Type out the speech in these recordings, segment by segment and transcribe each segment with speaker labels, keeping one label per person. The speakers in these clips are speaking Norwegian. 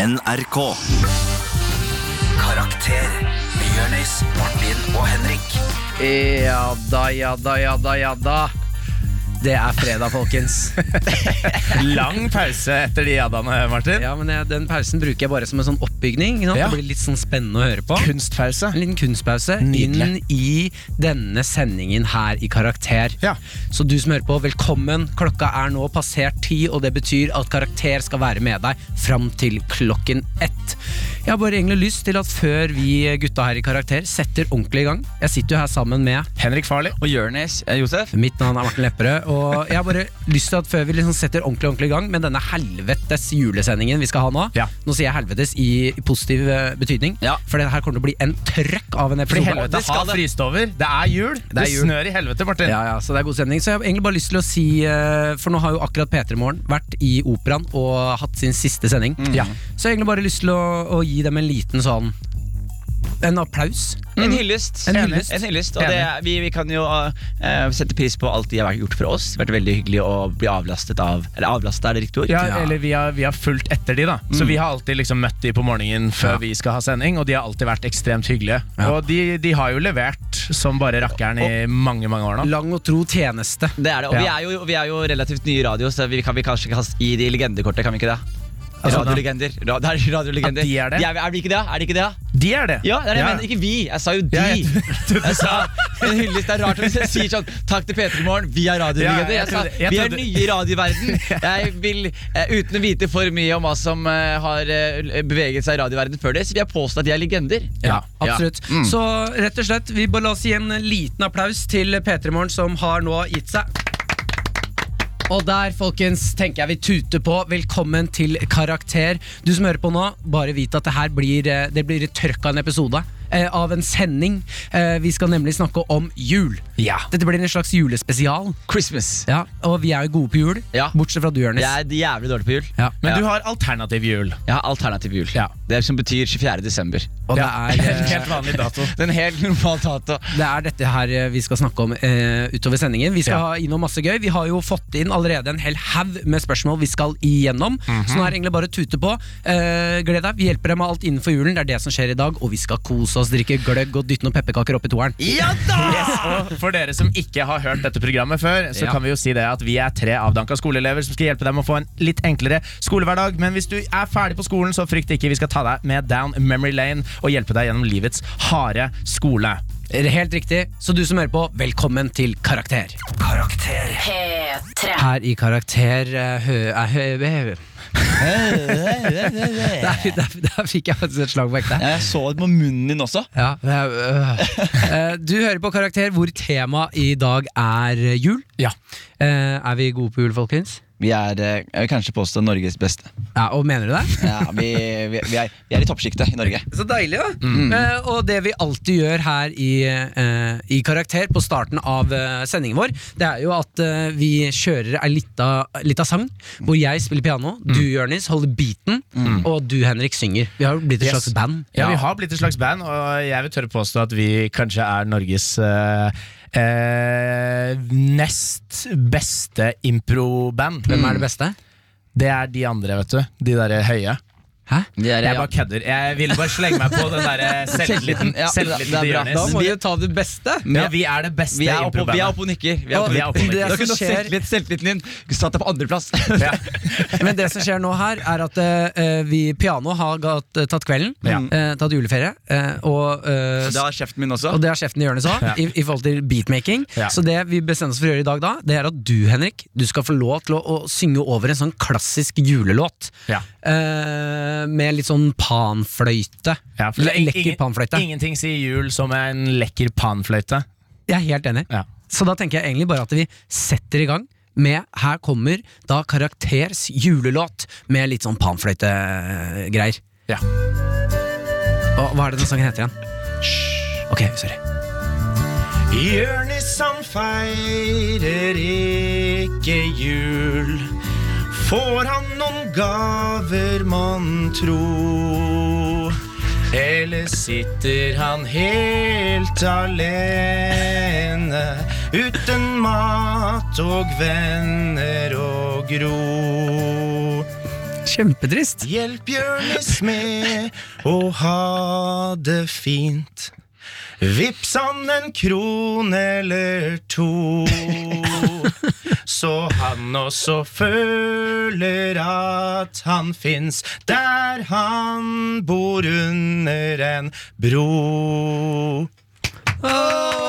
Speaker 1: NRK. Karakter. Jonis, Martin og Henrik.
Speaker 2: Ja da, ja da, ja da, ja da. Det er fredag, folkens.
Speaker 3: Lang pause etter de jaddaene, Martin.
Speaker 2: Ja, men jeg, Den pausen bruker jeg bare som en sånn oppbygning. Ikke sant?
Speaker 3: Ja.
Speaker 2: Det blir litt sånn spennende å høre på.
Speaker 3: Kunstpause.
Speaker 2: En liten kunstpause inn
Speaker 3: Nydelig.
Speaker 2: i denne sendingen her i Karakter.
Speaker 3: Ja.
Speaker 2: Så du som hører på, velkommen. Klokka er nå passert ti, og det betyr at Karakter skal være med deg fram til klokken ett. Jeg har bare egentlig lyst til at før vi gutta her i Karakter setter ordentlig i gang Jeg sitter jo her sammen med
Speaker 3: Henrik Farley.
Speaker 4: Og Jonis eh, Josef.
Speaker 2: Mitt navn er Martin Lepperød, og jeg har bare lyst til at før vi liksom setter ordentlig ordentlig i gang med denne helvetes julesendingen vi skal ha nå
Speaker 3: Ja.
Speaker 2: Nå sier jeg helvetes i positiv eh, betydning,
Speaker 4: Ja.
Speaker 2: for det her kommer til å bli en trøkk av en
Speaker 3: Fordi
Speaker 2: episode.
Speaker 3: helvete skal fryse over. Det er jul. Det,
Speaker 2: er jul.
Speaker 3: snør i helvete, Martin.
Speaker 2: Ja, ja, så det er god stemning. Så jeg har egentlig bare lyst til å si, eh, for nå har jo akkurat P3 Morgen vært i Operaen og hatt sin siste sending.
Speaker 3: Mm. Ja.
Speaker 2: Så jeg har egentlig bare lyst til å, å gi dem en liten sånn En applaus.
Speaker 4: En hyllest.
Speaker 2: En hyllest.
Speaker 4: En hyllest. Og det,
Speaker 3: Mm. Enig.
Speaker 4: vi, vi kan jo eh, sette pris på alt de har gjort for oss. Det har vært veldig hyggelig å bli avlastet av Eller avlastet, er det riktig ord?
Speaker 3: Ja,
Speaker 2: Ja.
Speaker 3: eller vi har, vi har fulgt etter de da Så vi har alltid liksom møtt de på morgenen før vi skal ha sending Og de har alltid vært ekstremt hyggelige Og de, de har jo levert som bare rakkeren i mange, mange år nå
Speaker 2: Lang og tro tjeneste.
Speaker 4: Det er det.
Speaker 3: Ja.
Speaker 4: Og vi, er jo, vi er jo relativt nye i radio, så vi kan vi kanskje kaste i de legendekortet, kan vi ikke det?
Speaker 3: Altså,
Speaker 4: Radiolegender. Ra- det er radiolegender.
Speaker 3: At de er det?
Speaker 4: er, er de ikke det? Er de ikke det?
Speaker 3: De er det
Speaker 4: Ja, det er det jeg mener. Ikke vi. Jeg sa jo de.
Speaker 3: Ja, jeg
Speaker 4: jeg, sa en hyllest. Det er rart hvis jeg sier sånn Takk til P3 Morgen, vi er radiolegender.
Speaker 3: Ja, jeg
Speaker 4: Jeg sa
Speaker 3: trodde- jeg
Speaker 4: vi er
Speaker 3: trodde-
Speaker 4: nye i radioverden. Jeg vil, eh, uten å vite for mye om hva som eh, har eh, beveget seg i radioverden før det, så vil jeg påstå at de er legender.
Speaker 2: Ja, absolutt. Så rett og slett, vi bare la oss gi en liten applaus til P3 Morgen, som har nå gitt seg. Og der, folkens, tenker jeg vi tuter på. Velkommen til Karakter. Du som hører på nå, bare vit at det her blir, eh, det blir et trøkk av en episode. eh, Av en sending. Eh, Vi skal nemlig snakke om jul.
Speaker 3: Ja.
Speaker 2: Dette blir en slags julespesial.
Speaker 4: Christmas.
Speaker 2: Ja, Og vi er jo gode på jul,
Speaker 4: Ja.
Speaker 2: bortsett fra du, Jonis.
Speaker 4: Jeg er jævlig dårlig på jul.
Speaker 2: Ja.
Speaker 3: Men
Speaker 4: Ja.
Speaker 3: du har alternativ jul
Speaker 4: Jeg har alternativ jul.
Speaker 3: Ja.
Speaker 4: Det som betyr 24. desember.
Speaker 2: Og det
Speaker 3: Ja.
Speaker 2: er eh,
Speaker 3: Helt vanlig dato
Speaker 4: Den helt normal dato.
Speaker 2: Det er dette her eh, vi skal snakke om eh, utover sendingen. Vi skal
Speaker 3: Ja.
Speaker 2: ha innom masse gøy. Vi har jo fått inn allerede en hel haug med spørsmål vi skal igjennom. Så nå er det egentlig bare å tute på. Eh, gled deg. Vi hjelper deg med alt innenfor julen. Det er det som skjer i dag. Og vi skal kose oss, drikke gløgg og dytte noen pepperkaker opp i toeren.
Speaker 4: Ja da!
Speaker 3: Yes, og For dere som ikke har hørt dette programmet før, så
Speaker 2: Ja.
Speaker 3: kan vi jo si det at vi er tre avdanka skoleelever som skal hjelpe dem å få en litt enklere skolehverdag. Men hvis du er ferdig på skolen, så frykt ikke. Vi skal ta deg med down memory lane og hjelpe deg gjennom livets harde skole.
Speaker 2: Er det Helt riktig. Så du som hører på, velkommen til Karakter.
Speaker 1: Karakter.
Speaker 5: P3.
Speaker 2: Her i Karakter eh, hø, eh, hø, hø, hø. Der, der, der fikk jeg faktisk et slag på ekte.
Speaker 4: Jeg så det på munnen din også.
Speaker 2: Ja, det er, øh. Eh, Du hører på Karakter, hvor temaet i dag er eh, jul.
Speaker 3: Ja.
Speaker 2: Eh, er vi gode på jul, folkens?
Speaker 4: Vi er eh, jeg vil kanskje påstå Norges beste.
Speaker 2: Ja, og mener du det?
Speaker 4: Ja, vi, vi, vi, er, vi er i toppsjiktet i Norge.
Speaker 2: Så deilig, da! Eh, og det vi alltid gjør her i, eh, i Karakter, på starten av eh, sendingen vår, det er jo at eh, vi kjører ei lita, lita sang, hvor jeg spiller piano, du, Jonis, holder beaten, og du, Henrik, synger. Vi har jo blitt et
Speaker 3: Yes.
Speaker 2: slags band.
Speaker 3: Ja, Vi har blitt et slags band, og jeg vil tørre påstå at vi kanskje er Norges eh, eh, nest beste improband. Mm.
Speaker 2: Hvem er det beste?
Speaker 3: Det er de andre, vet du. De derre høye.
Speaker 2: Hæ?
Speaker 4: Vi er,
Speaker 3: Jeg bare kødder. Jeg ville bare slenge meg på den eh, derre selvtilliten.
Speaker 4: Ja, det er-
Speaker 3: selvtilliten
Speaker 4: det
Speaker 3: til
Speaker 4: er bra.
Speaker 2: Da
Speaker 3: Jonis.
Speaker 2: må vi jo ta det beste.
Speaker 3: Ja, vi er det beste
Speaker 4: vi er oppe vi er
Speaker 3: improbandet.
Speaker 4: oppe og nikker.
Speaker 2: Og
Speaker 4: Vi er oppe,
Speaker 3: vi er oppe og nikker.
Speaker 4: Det er
Speaker 2: det som skjer
Speaker 4: selvtillit, Selvtilliten din satt deg på andreplass.
Speaker 3: Ja.
Speaker 2: Men det som skjer nå her, er at eh, vi piano har gatt, tatt kvelden,
Speaker 3: Ja.
Speaker 2: eh, tatt juleferie, eh, og, eh,
Speaker 4: Det har kjeften min også.
Speaker 2: og det har sjefen i hjørnet sa,
Speaker 3: Ja.
Speaker 2: i, i forhold til beatmaking.
Speaker 3: Ja.
Speaker 2: Så det vi bestemmer oss for å gjøre i dag, da, det er at du, Henrik, du skal få lov til å, å synge over en sånn klassisk julelåt.
Speaker 3: Ja.
Speaker 2: Eh, med litt sånn panfløyte.
Speaker 3: Ja, for det er ing-
Speaker 2: Lekker
Speaker 3: ingen-
Speaker 2: panfløyte.
Speaker 3: Ingenting sier jul som en lekker panfløyte.
Speaker 2: Jeg er helt enig.
Speaker 3: Ja.
Speaker 2: Så da tenker jeg egentlig bare at vi setter i gang med Her kommer da Karakters julelåt med litt sånn panfløytegreier.
Speaker 3: Ja.
Speaker 2: Og hva er det den sangen heter igjen? Ok, sorry.
Speaker 3: Jørnis han feirer ikke jul. Får han noen gaver, mon tro? Eller sitter han helt alene uten mat og venner og gro?
Speaker 5: kjempetrist.
Speaker 3: Hjelp Jonis med å ha det fint. Vips han en krone eller to, så han også føler at han fins der han bor under en bro.
Speaker 2: Åh!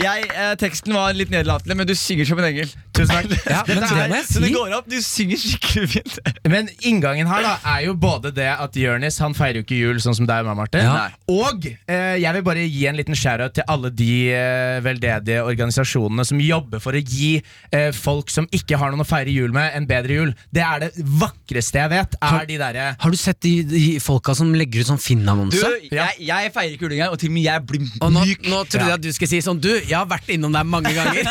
Speaker 4: Jeg, eh, teksten var litt nedlatende, men du synger som en engel.
Speaker 3: Tusen takk.
Speaker 5: men
Speaker 3: Dette
Speaker 5: det
Speaker 3: er-
Speaker 5: må jeg
Speaker 4: Så det
Speaker 5: Si?
Speaker 4: går opp. Du synger skikkelig fint.
Speaker 3: Men inngangen her da er jo både det at Jonis han feirer jo ikke jul sånn som deg og meg, Martin.
Speaker 5: Ja.
Speaker 3: Og eh, jeg vil bare gi en liten shout-out til alle de eh, veldedige organisasjonene som jobber for å gi eh, folk som ikke har noen å feire jul med, en bedre jul. Det er det vakreste jeg vet. Er de eh, derre
Speaker 2: Har du sett de, de folka som legger ut sånn
Speaker 4: Du,
Speaker 2: Finn-annonse?
Speaker 4: jeg, jeg feirer ikke jul engang, og til og med jeg blir
Speaker 2: Og nå,
Speaker 4: myk.
Speaker 2: nå trodde jeg at du skulle si sånn Du, jeg har vært innom deg mange ganger.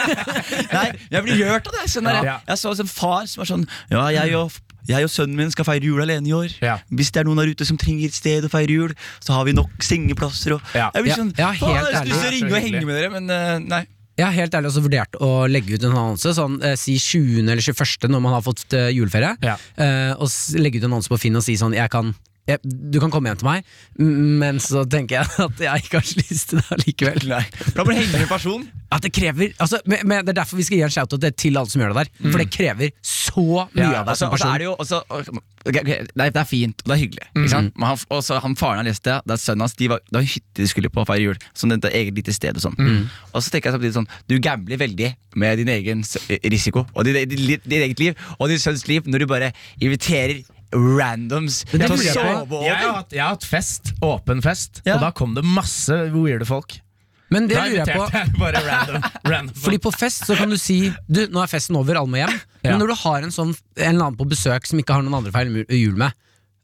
Speaker 4: Nei, jeg blir rørt av det.
Speaker 3: Ja.
Speaker 4: Skjønner jeg.
Speaker 3: Ja.
Speaker 4: jeg så en far som var sånn Ja, jeg og, jeg og sønnen min skal feire jul alene i år.
Speaker 3: Ja.
Speaker 4: Hvis det er noen der ute som trenger et sted å feire jul, så har vi nok sengeplasser og
Speaker 3: Ja.
Speaker 4: Jeg blir
Speaker 2: Ja,
Speaker 4: sånn
Speaker 2: ja,
Speaker 4: faen,
Speaker 2: helt
Speaker 4: Jeg har så lyst til å
Speaker 3: ærlig.
Speaker 4: ringe og henge
Speaker 3: Hyggelig.
Speaker 4: med dere, men eh, nei.
Speaker 2: Jeg har helt ærlig også vurdert å legge ut en annonse, sånn eh, si 20. eller 21. når man har fått eh, juleferie,
Speaker 3: Ja.
Speaker 2: eh, og s- legge ut en annonse på Finn og si sånn jeg kan jeg, du kan komme hjem til meg, m- men så tenker jeg at jeg ikke har så lyst til det allikevel.
Speaker 4: nei. Da blir det henge med en person.
Speaker 2: At det krever altså, men, men Det er derfor vi skal gi en shout-out til alle som gjør det der. For det krever så mye
Speaker 3: Mm. Ja,
Speaker 2: av deg
Speaker 4: Altså,
Speaker 2: som
Speaker 4: og så
Speaker 2: person.
Speaker 4: er det jo også, ok, ok, det, er, det er fint, og det er hyggelig.
Speaker 3: Mhm.
Speaker 4: Ikke sant? Men han, og så han Faren han leste, det er sønnen hans, de var, det var en hytte de skulle på å feire jul. Sånn et eget lite sted Og sånn
Speaker 3: Mhm.
Speaker 4: Og så tenker jeg samtidig sånn du gambler veldig med din egen s- risiko og din, din, din, din eget liv og din sønns liv når du bare inviterer randoms
Speaker 2: Men
Speaker 4: til
Speaker 2: det
Speaker 4: å
Speaker 2: lurer jeg på.
Speaker 4: sove
Speaker 3: jeg har,
Speaker 4: over.
Speaker 3: hatt, jeg har hatt fest, åpen fest,
Speaker 4: Ja.
Speaker 3: og da kom det masse weirde folk.
Speaker 2: Men det
Speaker 3: da
Speaker 2: lurer jeg på.
Speaker 3: inviterte jeg bare random, random folk.
Speaker 2: Fordi på fest så kan du si Du, nå er festen over, alle må hjem.
Speaker 3: Ja.
Speaker 2: Men når du har en sånn En eller annen på besøk som ikke har noen andre feil jul med,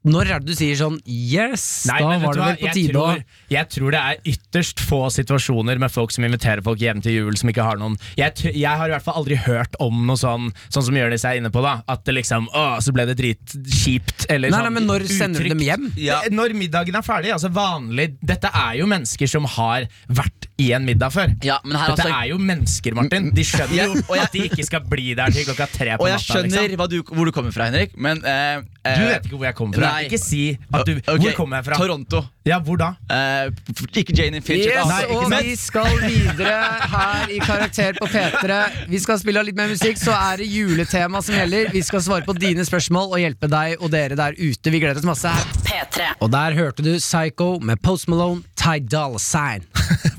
Speaker 2: når er det du sier sånn Yes,
Speaker 3: Nei,
Speaker 2: da
Speaker 3: men vet
Speaker 2: var
Speaker 3: du
Speaker 2: det
Speaker 3: hva?
Speaker 2: vel på
Speaker 3: jeg
Speaker 2: tide å
Speaker 3: tror, jeg tror det er ytterst få situasjoner med folk som inviterer folk hjem til jul som ikke har noen Jeg, tr- jeg har i hvert fall aldri hørt om noe sånn Sånn som Jonis er inne på, da. At det liksom Å, så ble det dritkjipt. Eller
Speaker 2: Nei,
Speaker 3: sånn
Speaker 2: nei, men når sender du
Speaker 3: utrygt.
Speaker 2: dem hjem?
Speaker 4: Ja.
Speaker 3: Det- Når middagen er ferdig. Altså vanlig Dette er jo mennesker som har vært i en middag før.
Speaker 4: Ja, men her
Speaker 3: Dette
Speaker 4: altså-
Speaker 3: er jo mennesker, Martin. De skjønner
Speaker 4: Ja,
Speaker 3: jo
Speaker 4: og jeg-
Speaker 3: at de ikke skal bli der til klokka tre på
Speaker 4: Og jeg
Speaker 3: natta.
Speaker 4: skjønner
Speaker 3: Liksom.
Speaker 4: hva du, hvor du kommer fra, Henrik, men eh, eh,
Speaker 3: Du vet ikke hvor jeg kommer fra.
Speaker 4: Nei.
Speaker 3: Ikke si at du
Speaker 4: ok,
Speaker 3: Hvor kommer jeg fra?
Speaker 4: Toronto.
Speaker 3: Ja, hvor da?
Speaker 4: Eh, f- ikke Jane Finch.
Speaker 2: Yes,
Speaker 3: Nei, ikke
Speaker 2: og
Speaker 3: sant.
Speaker 2: vi skal videre her i Karakter på P3. Vi skal spille litt mer musikk, så er det juletema som gjelder. Vi skal svare på dine spørsmål og hjelpe deg og dere der ute. Vi gleder oss masse.
Speaker 6: P3.
Speaker 2: Og der hørte du Psycho med Post Malone, Ty Dolla Sign.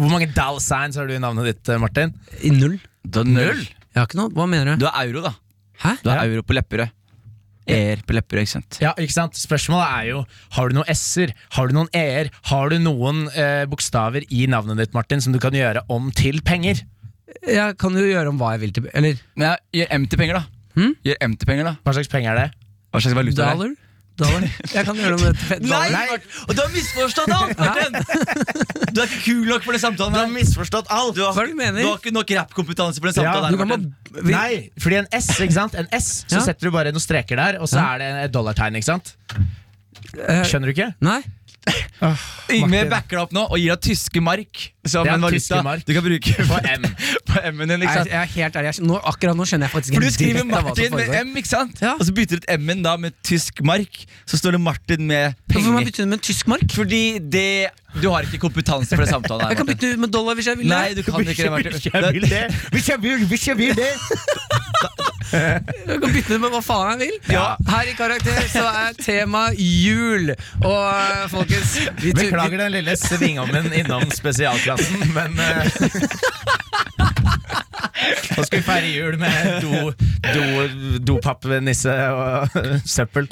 Speaker 3: Hvor mange Dal Signs har du i navnet ditt, eh, Martin?
Speaker 2: I null?
Speaker 4: Du har null.
Speaker 2: Jeg har ikke noe. Hva mener du?
Speaker 4: Du er euro, da.
Speaker 2: Hæ?
Speaker 4: Du har
Speaker 3: Ja.
Speaker 4: euro på Lepperød. Er på Lepperød, ikke sant?
Speaker 3: Ja, ikke sant? Spørsmålet er jo Har du noen S-er, har du noen E-er, har du noen eh, bokstaver i navnet ditt Martin som du kan gjøre om til penger?
Speaker 2: Jeg kan jo gjøre om hva jeg vil til Eller
Speaker 4: Men jeg gjør M til penger, da. Gjør M til penger, da.
Speaker 3: Hva slags penger er det?
Speaker 4: Hva slags valuta er det?
Speaker 2: dollar? dollar. Jeg kan gjøre om det til fe-
Speaker 4: Nei!
Speaker 2: dollar.
Speaker 4: Martin! Og du har misforstått alt, Martin! Du er ikke kul nok for den samtalen. Du har misforstått alt Du har,
Speaker 2: Hva er det du mener?
Speaker 4: du har ikke nok rappkompetanse for den
Speaker 3: Ja,
Speaker 4: samtalen.
Speaker 2: Du
Speaker 4: her,
Speaker 2: kan
Speaker 4: Martin.
Speaker 2: bare vi,
Speaker 3: Nei, fordi en S, ikke sant? En S, så
Speaker 2: Ja.
Speaker 3: setter du bare noen streker der, og så er det et dollartegn, ikke sant?
Speaker 2: eh,
Speaker 3: Skjønner du ikke?
Speaker 2: nei.
Speaker 4: Yngve
Speaker 3: Martin.
Speaker 4: backer deg opp nå og gir deg tyske mark som
Speaker 3: Ja,
Speaker 4: en
Speaker 3: tyske
Speaker 4: valuta
Speaker 3: mark.
Speaker 4: du kan bruke på
Speaker 3: M.
Speaker 4: på M-en din. ikke
Speaker 2: Jeg,
Speaker 4: sant?
Speaker 2: jeg er helt ærlig. Jeg, nå, akkurat nå skjønner jeg faktisk
Speaker 4: For du
Speaker 2: ikke
Speaker 4: skriver
Speaker 2: dritt av hva som
Speaker 4: Martin med
Speaker 2: foregår.
Speaker 4: M, ikke sant?
Speaker 2: Ja.
Speaker 4: Og så bytter du ut M-en da med tysk mark. Så står det Martin med
Speaker 2: Hvorfor må jeg
Speaker 4: penger.
Speaker 2: bytte den med en tysk mark?
Speaker 4: Fordi det Du har ikke kompetanse for den samtalen her.
Speaker 2: Jeg kan
Speaker 4: Martin.
Speaker 2: bytte den med dollar hvis jeg vil.
Speaker 4: Nei, du kan ikke det, Martin.
Speaker 3: Hvis jeg vil det, hvis jeg vil, hvis jeg vil det
Speaker 2: Jeg kan bytte den med hva faen jeg vil.
Speaker 4: Ja.
Speaker 2: Her i Karakter så er tema jul. Og eh, folkens vi tu-
Speaker 3: Beklager den lille svingommen innom spesialklassen, men eh, Nå skal vi feire jul med do, do, dopapnisse og søppel.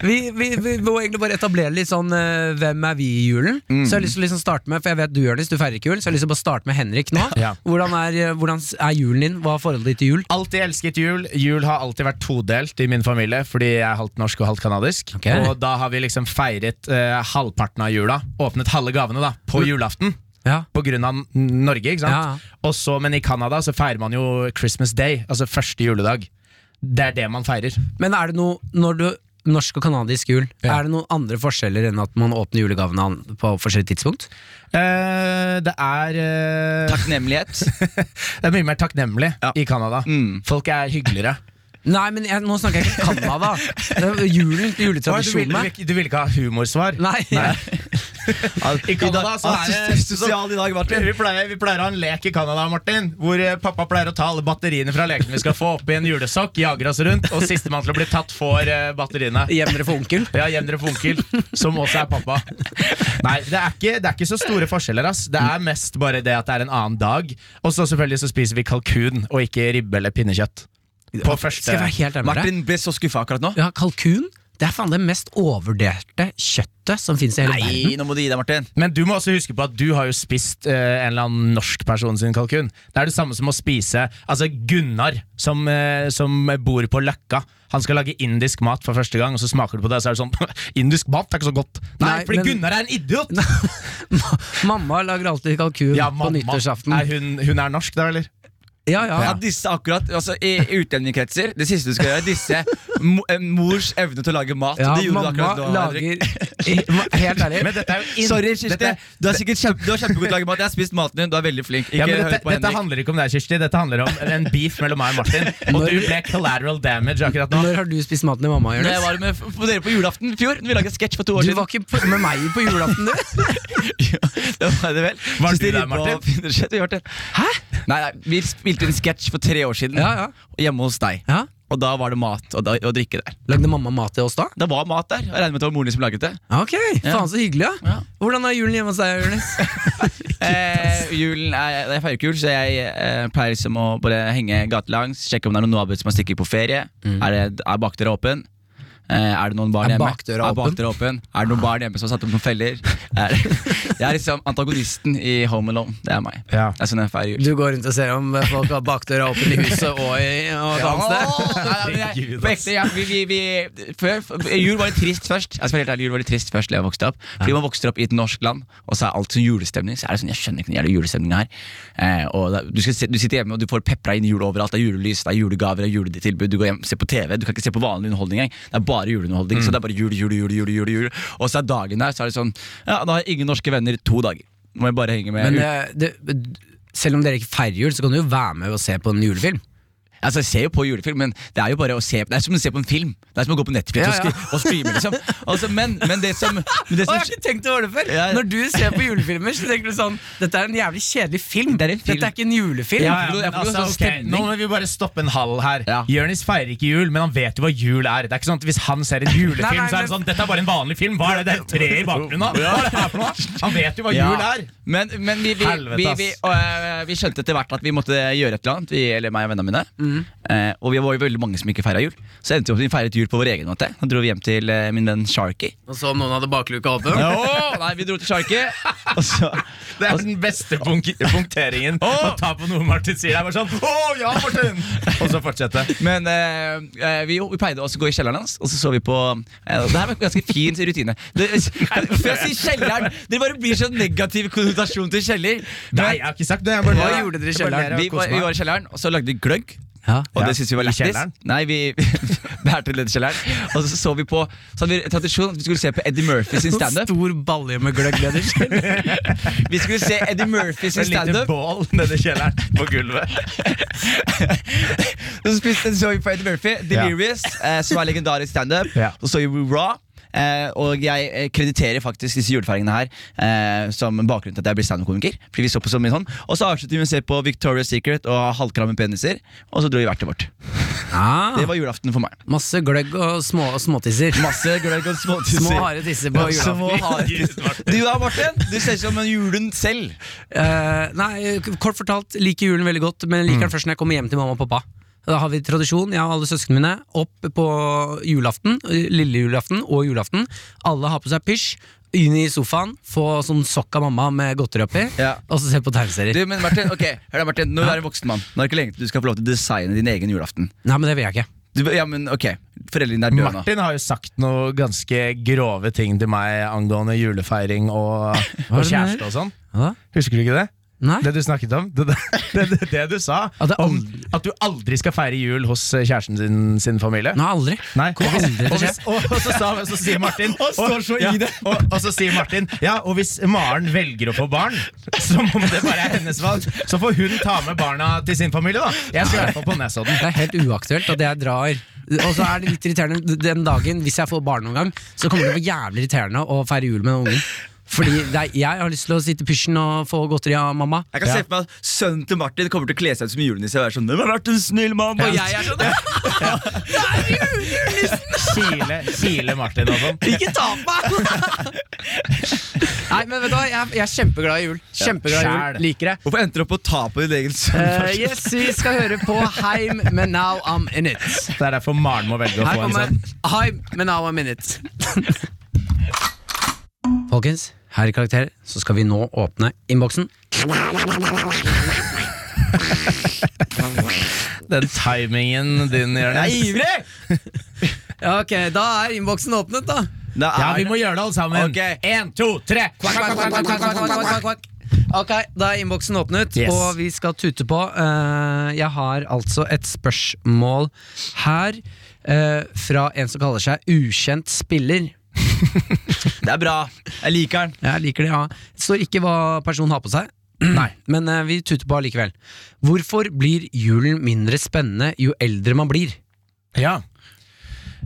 Speaker 2: Vi, vi, vi må egentlig bare etablere litt sånn eh, Hvem er vi i julen?
Speaker 3: Mm.
Speaker 2: Så jeg har lyst til å liksom starte med For jeg vet du Jonis, du feirer ikke jul, så jeg har lyst til å bare starte med Henrik nå.
Speaker 3: Ja.
Speaker 2: Hvordan, er, eh, hvordan s- er julen din? Hva er forholdet ditt til jul?
Speaker 3: Alltid elsket jul. Jul har alltid vært todelt i min familie, fordi jeg er halvt norsk og halvt kanadisk.
Speaker 2: Ok.
Speaker 3: Og da har vi liksom feiret eh, halvparten av jula. Åpnet halve gavene da, på julaften.
Speaker 2: Ja.
Speaker 3: På grunn av N- Norge, ikke sant?
Speaker 2: Mm. Ja.
Speaker 3: Og så, men i Canada så feirer man jo Christmas Day, altså første juledag. Det er det man feirer.
Speaker 2: Men er det noe Når du Norsk og kanadisk jul,
Speaker 3: Ja.
Speaker 2: er det noen andre forskjeller enn at man åpner julegavene an- på forskjellig tidspunkt?
Speaker 3: Eh, det er eh,
Speaker 4: Takknemlighet.
Speaker 3: Det er mye mer takknemlig
Speaker 4: Ja.
Speaker 3: i Canada.
Speaker 4: Mm.
Speaker 3: Folk er hyggeligere.
Speaker 2: Nei, men jeg, nå snakker jeg ikke Canada. Det er Julen,
Speaker 3: Hva, du, vil, du,
Speaker 2: juletradisjonene.
Speaker 3: vil, ikke- du vil ikke ha humorsvar?
Speaker 2: Nei.
Speaker 3: I Canada så er det
Speaker 4: Ah, sosial i dag, Martin.
Speaker 3: Vi pleier, vi pleier å ha en lek i Canada, Martin, hvor eh, pappa pleier å ta alle batteriene fra lekene vi skal få, oppi en julesokk, jager oss rundt, og sistemann til å bli tatt får eh, batteriene.
Speaker 2: Hjemmere for onkel.
Speaker 3: Ja, Hjem dere for onkel, som også er pappa. Nei, det er, ikke, det er ikke så store forskjeller. ass Det er mest bare det at det er en annen dag. Og så selvfølgelig så spiser vi kalkun og ikke ribbe eller pinnekjøtt. På
Speaker 2: Skal
Speaker 3: første
Speaker 2: jeg være helt ærlig med deg?
Speaker 4: Martin ble så skuffa akkurat nå.
Speaker 2: Ja, kalkun det er faen det mest overvurderte kjøttet som fins i hele
Speaker 4: Nei,
Speaker 2: verden.
Speaker 4: nå må du gi deg, Martin.
Speaker 3: Men du må også huske på at du har jo spist eh, en eller annen norsk person sin kalkun. Det er det samme som å spise Altså Gunnar, som, eh, som bor på Løkka. Han skal lage indisk mat for første gang, og så smaker du på det, og så er det sånn Indisk mat er ikke så godt. Nei,
Speaker 2: Nei,
Speaker 3: fordi
Speaker 2: men-
Speaker 3: Gunnar er en idiot!
Speaker 2: Mamma lager alltid kalkun
Speaker 3: Ja,
Speaker 2: på
Speaker 3: mamma.
Speaker 2: nyttårsaften.
Speaker 3: Er hun, hun er norsk, da, eller?
Speaker 2: Ja, ja.
Speaker 4: Ja, disse akkurat, altså I utlendingkretser, det siste du skal gjøre, er disse mo eh, mors evne til å lage mat.
Speaker 2: ja
Speaker 4: og det gjorde du
Speaker 2: mamma
Speaker 4: akkurat nå, Henrik.
Speaker 2: lager Helt ærlig.
Speaker 3: Men dette er jo inn-
Speaker 4: Sorry, Kirsti.
Speaker 3: dette-
Speaker 4: du er sikkert kjempe, du er kjempegod til å lage mat. Jeg har spist maten din. Du er veldig flink. Ikke
Speaker 3: Ja, men
Speaker 4: hør
Speaker 3: dette,
Speaker 4: på
Speaker 3: dette
Speaker 4: Henrik.
Speaker 3: handler ikke om deg, Kirsti. Dette handler om en beef mellom meg og Martin. Og du ble collateral damage akkurat nå.
Speaker 2: Når har du spist maten til mamma?
Speaker 4: Når jeg
Speaker 2: Jonas?
Speaker 4: var med f- på dere på julaften i fjor, vi laget sketsj for to år
Speaker 2: Du
Speaker 4: siden.
Speaker 2: var ikke på, med meg på julaften, du!
Speaker 4: Ja, det var det vel.
Speaker 3: Var
Speaker 4: Synes
Speaker 3: du
Speaker 4: de
Speaker 3: der,
Speaker 4: ribba
Speaker 3: Martin?
Speaker 4: og pinnekjøtt, vi, Martin?
Speaker 2: Hæ?
Speaker 4: Nei, nei, vi spilte en sketsj for tre år siden
Speaker 2: Ja, ja.
Speaker 4: hjemme hos deg.
Speaker 2: ja.
Speaker 4: Og da var det mat og, da, og drikke der.
Speaker 2: Lagde mamma mat til oss da?
Speaker 4: Det var mat der. Jeg regner med at det var moren din som laget det.
Speaker 2: Ok, faen så hyggelig, ja.
Speaker 4: Ja.
Speaker 2: Hvordan er julen hjemme hos deg, Jonis?
Speaker 4: Eh, julen er, Jeg feirer ikke jul, så jeg eh, pleier liksom å bare henge gatelangs. Sjekke om det er noen naboer som har stikket på ferie. Er, det, er bakdøra åpen? Eh, er det noen barn
Speaker 2: Er
Speaker 4: hjemme?
Speaker 2: bakdøra
Speaker 4: er bakdøra åpen? Er det noen barn hjemme som har satt opp noen feller? Er, jeg er liksom antagonisten i Home Alone. Det er meg.
Speaker 3: Ja.
Speaker 4: Det er sånn jeg feirer jul.
Speaker 2: Du går rundt og ser om folk har bakdøra åpen i huset og i og et annet sted?
Speaker 4: Åh, nei, nei, men jeg-
Speaker 3: Herregud,
Speaker 4: på
Speaker 3: ass.
Speaker 4: ekte, ja, vi, vi, vi, før, f- jul var litt trist først. Jeg skal være helt ærlig, jul var litt trist først da jeg vokste opp Fordi man vokser opp i et norsk land, og så er alt sånn julestemning. Så er det sånn, Jeg skjønner ikke den jævla julestemningen her. Eh, og da, du, skal, se- du sitter hjemme og du får pepra inn jul overalt. Det er julelys, det er julegaver, det er juletilbud. Du går hjem ser på TV. Du kan ikke se på vanlig underholdning engang. Det er bare juleunderholdning. Så det er bare jul, jul, jul, jul, jul, jul. Og så er dagen der, så er det sånn Ja, da har jeg ingen norske venner to dager. Må jeg bare henge med
Speaker 2: Men eh, det, selv om dere ikke feirer jul, så kan du jo være med og se på en julefilm.
Speaker 4: Altså, jeg ser jo på julefilm, men det er jo bare å se Det er som å se på en film. Det er som å gå på Netflix
Speaker 2: Ja,
Speaker 4: og,
Speaker 2: ja.
Speaker 4: skri- og streame, liksom. Altså, men, men det som, men det
Speaker 2: Å,
Speaker 4: som
Speaker 2: jeg har ikke tenkt over det før!
Speaker 4: Ja, ja.
Speaker 2: Når du ser på julefilmer, så tenker du sånn Dette er en jævlig kjedelig film.
Speaker 4: Det er en film.
Speaker 2: Dette er ikke en julefilm.
Speaker 3: Ja, ja,
Speaker 4: Jeg
Speaker 3: men
Speaker 4: får jo
Speaker 3: altså,
Speaker 4: sånn
Speaker 3: ok,
Speaker 4: stemning.
Speaker 3: Nå må vi bare stoppe en hall her.
Speaker 4: Ja.
Speaker 3: Jonis feirer ikke jul, men han vet jo hva jul er. Det er ikke sånn at Hvis han ser en julefilm,
Speaker 2: Nei, nei,
Speaker 3: så er det
Speaker 2: men-
Speaker 3: sånn Dette er bare en vanlig film. Hva er det det er treet i bakgrunnen? da? Hva er det her for noe? Han vet jo hva
Speaker 4: Ja.
Speaker 3: jul er.
Speaker 4: Men, men vi, vi,
Speaker 3: Helvete,
Speaker 4: vi,
Speaker 3: ass.
Speaker 4: vi, og, eh, vi skjønte etter hvert at vi måtte gjøre et eller annet, vi, eller meg og vennene mine.
Speaker 2: Mm.
Speaker 4: Eh, og vi var jo veldig mange som ikke feira jul. Så endte vi opp med å feire jul på vår egen måte. Da dro vi hjem til eh, min venn Sharky.
Speaker 2: Og så om noen hadde bakluka åpen.
Speaker 4: Åh, nei, vi dro til Sharky, og så
Speaker 3: Det er den beste punk punkteringen å ta på noe Martin sier. Det er bare sånn Å ja, Martin! Og så fortsette.
Speaker 4: Men eh, eh, vi, vi pleide også å gå i kjelleren hans, og så så vi på eh, Det her var en ganske fin rutine. Det, eh, for jeg sier kjelleren Det bare blir sånn negativ konnotasjon til kjeller.
Speaker 3: Nei, jeg har ikke sagt det. Jeg bare,
Speaker 2: Hva gjorde dere i
Speaker 3: Jeg bare
Speaker 2: kjelleren?
Speaker 3: ler og
Speaker 4: Vi var,
Speaker 3: koser
Speaker 4: vi
Speaker 3: meg.
Speaker 4: var i kjelleren, og så lagde vi gløgg.
Speaker 2: Ja.
Speaker 4: Og
Speaker 3: Ja,
Speaker 4: det syntes vi var
Speaker 3: i
Speaker 4: lættis.
Speaker 3: kjelleren?
Speaker 4: Nei, vi bærte litt i kjelleren. Og så så vi på Så hadde vi tradisjon at vi skulle se på Eddie Murphy sin
Speaker 2: Sånn
Speaker 4: standup.
Speaker 2: stor balje med gløggleder.
Speaker 4: Vi skulle se Eddie Murphy sin
Speaker 3: Et lite
Speaker 4: standup.
Speaker 3: bål nede i kjelleren på gulvet.
Speaker 4: Så spiste så vi på Eddie Murphy, Delirious, eh, som er legendarisk standup.
Speaker 3: Ja.
Speaker 4: Og så gjorde vi Raw. Eh, og jeg eh, krediterer faktisk disse julefeiringene her eh, som bakgrunnen til at jeg blir standup-komiker. Fordi vi så på så mye sånn Og så avsluttet vi med å se på Victoria's Secret og halvkramme peniser. Og så dro vi hvert til vårt.
Speaker 2: Ah,
Speaker 4: Det var julaften for meg.
Speaker 2: masse gløgg og små, småtisser.
Speaker 4: Masse gløgg og småtisser.
Speaker 2: Små harde tisser på
Speaker 4: Små
Speaker 2: julaften.
Speaker 4: harde tisser. Du da, Martin? Du ser ut som en julen selv.
Speaker 2: Eh, nei, k- kort fortalt, liker julen veldig godt, men liker den først når jeg kommer hjem til mamma og pappa. Da har vi tradisjon, jeg og alle søsknene mine, opp på julaften, eh, lille julaften og julaften. Alle har på seg pysj, inn i sofaen, få sånn sokk av mamma med godteri oppi,
Speaker 4: Ja.
Speaker 2: og så se på tegneserier.
Speaker 4: Du, men Martin, ok, hør da, Martin. Nå er du voksen mann. Nå er det ikke lenge til du skal få lov til å designe din egen julaften.
Speaker 2: Nei, men det vil jeg ikke.
Speaker 4: Du, ja, men ok, Foreldrene dine er døde nå.
Speaker 3: Martin har jo sagt noe ganske grove ting til meg angående julefeiring og, og
Speaker 2: er det
Speaker 3: kjæreste
Speaker 2: mer?
Speaker 3: og sånn.
Speaker 2: Hva da?
Speaker 3: Husker du ikke det?
Speaker 2: Nei?
Speaker 3: Det du snakket om? Det, det, det, det du sa?
Speaker 2: At det
Speaker 3: om
Speaker 2: aldri-
Speaker 3: at du aldri skal feire jul hos eh, kjæresten sin, sin familie?
Speaker 2: Nei, aldri.
Speaker 3: Nei.
Speaker 2: Kommer aldri til å
Speaker 3: og,
Speaker 2: skje.
Speaker 3: hvis, og, og, så sa, og så sier Martin og,
Speaker 4: står så i
Speaker 3: ja,
Speaker 4: det.
Speaker 3: Og, og så sier Martin Ja, og hvis Maren velger å få barn, som om det bare er hennes valg, så får hun ta med barna til sin familie, da. Jeg skal i hvert fall på Nesodden.
Speaker 2: Det er helt uaktuelt at jeg drar. Og så er det litt irriterende den dagen, hvis jeg får barn noen gang, så kommer det til å være jævlig irriterende å feire jul med den ungen. Fordi det er, jeg har lyst til å sitte i pysjen og få godteri av mamma.
Speaker 4: Jeg kan se for meg at sønnen til Martin kommer til å kle seg ut som julenisse og være sånn 'Hvem har vært en snill mann?' Og jeg er sånn
Speaker 3: Kile, kile Martin og sånn.
Speaker 4: Ikke ta på meg!
Speaker 2: Nei, men vet du hva, jeg, jeg er kjempeglad i jul. Kjempeglad i
Speaker 3: Sjæl.
Speaker 2: jul. Liker det.
Speaker 4: Hvorfor endte du opp på å ta på din egen sønn?
Speaker 2: Eh, yes, vi skal høre på Heim med Now I'm In It.
Speaker 3: Det er derfor Maren må velge å
Speaker 2: Her
Speaker 3: få en
Speaker 2: kommer
Speaker 3: sånn.
Speaker 2: Heim med Now I'm In It. Folkens, her i Karakter så skal vi nå åpne innboksen.
Speaker 3: Den timingen din, Jonis.
Speaker 4: ivrig!
Speaker 2: Ja, ok, Da er innboksen åpnet, da.
Speaker 4: Da
Speaker 3: Ja,
Speaker 4: er
Speaker 3: vi må gjøre det alle sammen.
Speaker 4: Ok.
Speaker 3: En, to, tre! Kvakk, kvakk, kvakk, kvakk, kvakk, kvakk, kvakk.
Speaker 2: Ok, Da er innboksen åpnet,
Speaker 3: Yes.
Speaker 2: og vi skal tute på. Eh, jeg har altså et spørsmål her eh, fra en som kaller seg Ukjent spiller.
Speaker 4: det er bra. Jeg liker den.
Speaker 2: Jeg liker det, ja. Det står ikke hva personen har på seg. Nei, Men eh, vi tuter på allikevel. Hvorfor blir julen mindre spennende jo eldre man blir?
Speaker 3: Ja.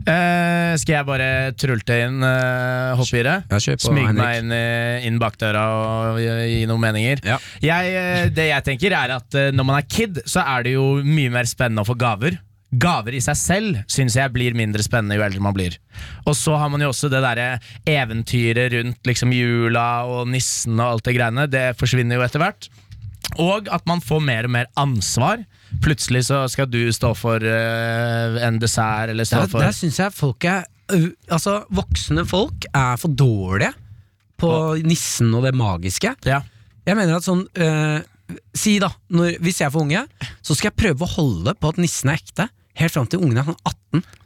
Speaker 3: Eh, skal jeg bare trulte inn eh, hoppe i det?
Speaker 2: Ja, kjør på,
Speaker 3: Smyge
Speaker 2: Henrik.
Speaker 3: meg inn, i- inn bak døra og gi, gi noen meninger.
Speaker 2: Ja.
Speaker 3: Jeg, eh, det jeg tenker er at eh, når man er kid, så er det jo mye mer spennende å få gaver. Gaver i seg selv syns jeg blir mindre spennende jo eldre man blir. Og så har man jo også det derre eventyret rundt liksom jula og nissen og alt det greiene. Det forsvinner jo etter hvert. Og at man får mer og mer ansvar. Plutselig så skal du stå for eh, en dessert, eller stå
Speaker 2: Der,
Speaker 3: for
Speaker 2: der syns jeg folk er ø, Altså, voksne folk er for dårlige på nissen og det magiske.
Speaker 3: ja.
Speaker 2: Jeg mener at sånn eh, Si da, når, hvis jeg får unge, så skal jeg prøve å holde på at nissen er ekte. Helt fram til ungen er sånn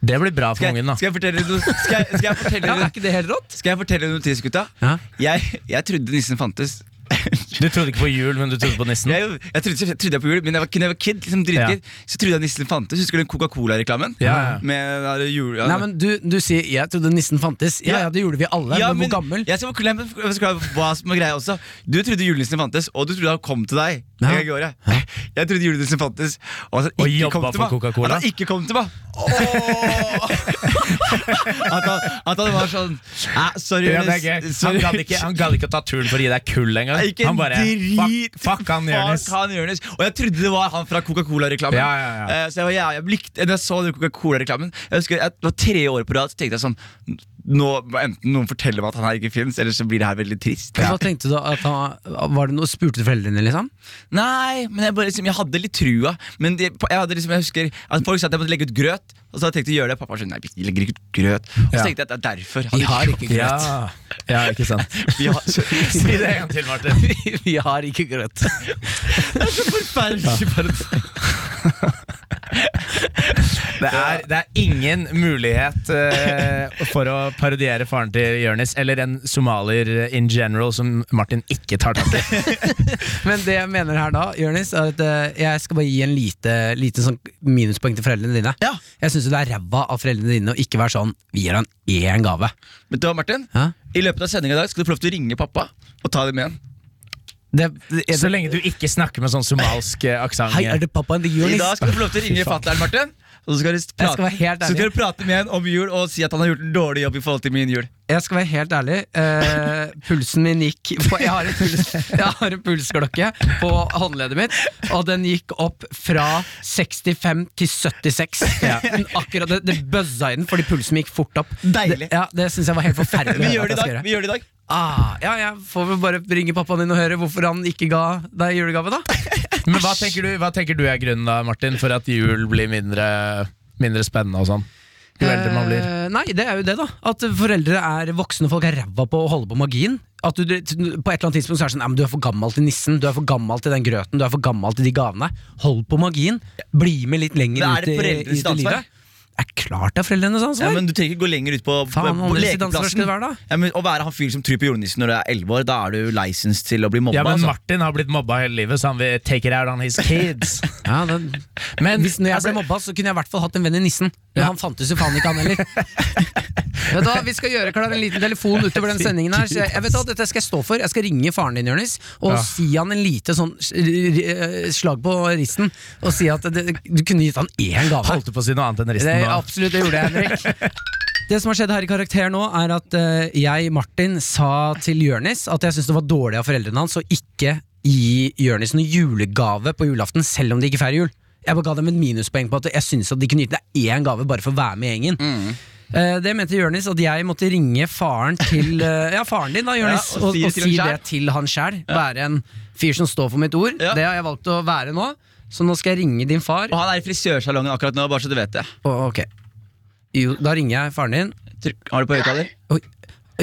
Speaker 2: 18.
Speaker 3: Det blir bra for
Speaker 4: Skal
Speaker 3: ungen,
Speaker 4: jeg,
Speaker 3: da.
Speaker 4: skal jeg fortelle dere noe, skal jeg, skal jeg fortelle
Speaker 2: Ja,
Speaker 4: dere,
Speaker 2: er ikke det helt rått?
Speaker 4: skal jeg fortelle dere noe tids, gutta?
Speaker 2: Ja.
Speaker 4: Jeg, jeg trodde nissen fantes.
Speaker 3: Du trodde ikke på jul, men du trodde på nissen.
Speaker 4: Jeg, jeg trodde, jeg trodde jeg på jul, men jeg var, når jeg var kid, liksom dritkid, så trodde jeg nissen fantes. Husker du den Coca-Cola-reklamen?
Speaker 3: Ja, ja.
Speaker 4: Med den der jul... ja,
Speaker 2: Nei, men du, du sier 'jeg trodde nissen fantes'. Ja, ja, det gjorde vi alle.
Speaker 4: Ja,
Speaker 2: men hvor gammel?
Speaker 4: Jeg skal forklare, jeg skal forklare hva som er greia også Du trodde julenissen fantes, og du trodde han kom til deg.
Speaker 2: Ja.
Speaker 4: Jeg, jeg trodde julenissen fantes, og at han
Speaker 3: Og
Speaker 4: ikke
Speaker 3: jobba
Speaker 4: kom til
Speaker 3: for
Speaker 4: meg.
Speaker 3: Coca-Cola.
Speaker 4: At han ikke kom til meg. at, han, at han var sånn Nei, sorry,
Speaker 3: Ja, det er gøy.
Speaker 4: Jonis.
Speaker 3: Han
Speaker 4: Sorry.
Speaker 3: gadd ikke, han gadd ikke å ta turen for å gi deg kull engang.
Speaker 4: Nei, ikke
Speaker 3: Han bare
Speaker 4: en drit.
Speaker 3: fuck, fuck han Jonis.
Speaker 4: Fuck han Jonis. Og jeg trodde det var han fra Coca-Cola-reklamen.
Speaker 3: Ja, ja, ja.
Speaker 4: Eh, Så jeg var jævlig- jeg likte, når jeg så den Coca-Cola-reklamen Jeg husker jeg det var tre år på rad, så tenkte jeg sånn Nå må Enten noen forteller meg at han her ikke fins, eller så blir det her veldig trist.
Speaker 2: Hva tenkte du at han, var det noe, Spurte du foreldrene, liksom?
Speaker 4: Nei, men jeg, bare, liksom, jeg hadde litt trua. Men det, på- jeg, hadde, liksom, jeg husker at folk sa at jeg måtte legge ut grøt. Og så hadde jeg tenkt å gjøre det. Pappa sa nei, vi legger ikke ut grøt. Og så
Speaker 3: Ja.
Speaker 4: tenkte jeg at det er derfor.
Speaker 2: Vi har ikke
Speaker 3: Ja.
Speaker 2: grøt.
Speaker 3: ja, ikke sant.
Speaker 4: Vi har så,
Speaker 3: Si det en gang til, Martin.
Speaker 2: vi har ikke grøt.
Speaker 4: forferdelig bare-
Speaker 3: Det er, det er ingen mulighet eh, for å parodiere faren til Jonis, eller en somalier eh, in general som Martin ikke tar tak i.
Speaker 2: Men det jeg mener her da, Jørnis, er at eh, jeg skal bare gi en lite, lite sånn minuspoeng til foreldrene dine.
Speaker 4: Ja.
Speaker 2: Jeg syns det er ræva av foreldrene dine å ikke være sånn 'vi gir han én gave'.
Speaker 4: Vet du hva, Martin?
Speaker 2: Hæ?
Speaker 4: I løpet av sendinga i dag skal du få lov til å ringe pappa og ta det med igjen.
Speaker 2: Det, det, er
Speaker 3: Så
Speaker 2: det,
Speaker 3: lenge du ikke snakker med sånn somalisk aksent.
Speaker 2: hei, er det pappaen til
Speaker 4: I
Speaker 2: Jørnis?
Speaker 4: dag skal du få lov til å ringe fatter'n, Martin. Og så skal, du prate,
Speaker 2: skal være helt
Speaker 4: så skal
Speaker 2: ærlig.
Speaker 4: du prate med han om jul og si at han har gjort en dårlig jobb i forhold til min jul.
Speaker 2: Jeg skal være helt ærlig. eh, pulsen min gikk på, jeg, har en puls, jeg har en pulsklokke på håndleddet mitt, og den gikk opp fra 65 til 76. Men Akkurat Det, det bøzza i den fordi pulsen min gikk fort opp.
Speaker 4: Deilig.
Speaker 2: Det, ja, det syns jeg var helt forferdelig.
Speaker 4: Vi
Speaker 2: at
Speaker 4: gjør det
Speaker 2: jeg
Speaker 4: i
Speaker 2: skal
Speaker 4: dag.
Speaker 2: gjøre.
Speaker 4: Vi gjør det i dag.
Speaker 2: Ah, ja, jeg får vel bare ringe pappaen din og høre hvorfor han ikke ga deg julegave, da.
Speaker 3: Men hva tenker, du, hva tenker du er grunnen da, Martin, for at jul blir mindre, mindre spennende og sånn? Jo eldre man blir.
Speaker 2: Eh, nei, det er jo det, da. At foreldre er voksne folk er ræva på å holde på magien. At du, du- på et eller annet tidspunkt så er det sånn "Nei, men Du er for gammel til nissen, du er for gammel til den grøten, du er for gammel til de gavene. Hold på magien. Bli med litt lenger
Speaker 4: Det er
Speaker 2: ut
Speaker 4: det
Speaker 2: i, ut
Speaker 4: foreldres
Speaker 2: i
Speaker 4: ansvar.
Speaker 2: livet. Det er klart det er foreldrenes ansvar!
Speaker 4: Ja, men Du trenger ikke gå lenger ut på,
Speaker 2: Faen,
Speaker 4: på
Speaker 2: annerledes i danseverk skal
Speaker 4: lekeplassen.
Speaker 2: det være, da.
Speaker 4: Ja, men, å være han fyren som tror på julenissen når du er 11 år, da er du licensed til å bli mobba.
Speaker 3: Ja, men
Speaker 4: altså.
Speaker 3: Martin har blitt mobba hele livet, så han vil take it out on his kids.
Speaker 2: Ja, den,
Speaker 3: Men
Speaker 2: hvis når jeg
Speaker 3: altså,
Speaker 2: ble mobba, så kunne jeg i hvert fall hatt en venn i nissen. Men
Speaker 3: Ja.
Speaker 2: han fantes jo faen ikke, han heller. vet du hva, Vi skal gjøre klar en liten telefon utover den sendingen her. Så jeg, jeg vet hva, Dette skal jeg stå for. Jeg skal ringe faren din, Jonis, og
Speaker 3: Ja.
Speaker 2: si han en lite sånn s- r- r- slag på risten. Og si at det, du kunne gitt han én gave.
Speaker 3: holdt du på å si noe annet enn
Speaker 2: Det,
Speaker 3: risten? nå?
Speaker 2: absolutt, det gjorde jeg, Henrik. Det som har skjedd her i Karakter nå, er at eh, jeg, Martin, sa til Jørnis at jeg syntes det var dårlig av foreldrene hans å ikke gi Jørnis noen julegave på julaften, selv om de ikke feirer jul. Jeg bare ga dem et minuspoeng på at jeg syntes at de kunne gitt deg én gave bare for å være med i gjengen. Eh, det mente Jørnis at jeg måtte ringe faren til eh, Ja, faren din, da, Jørnis,
Speaker 4: Ja,
Speaker 2: og, og, si
Speaker 4: si det til han selv.
Speaker 2: det til han sjæl. Være en fyr som står for mitt ord.
Speaker 4: Ja.
Speaker 2: Det har jeg valgt å være nå, så nå skal jeg ringe din far.
Speaker 4: Og han er i frisørsalongen akkurat nå, bare så du vet det.
Speaker 2: Å, ok jo, Da ringer jeg faren din
Speaker 4: Trykk- Har du på høyttaler?
Speaker 2: Oi,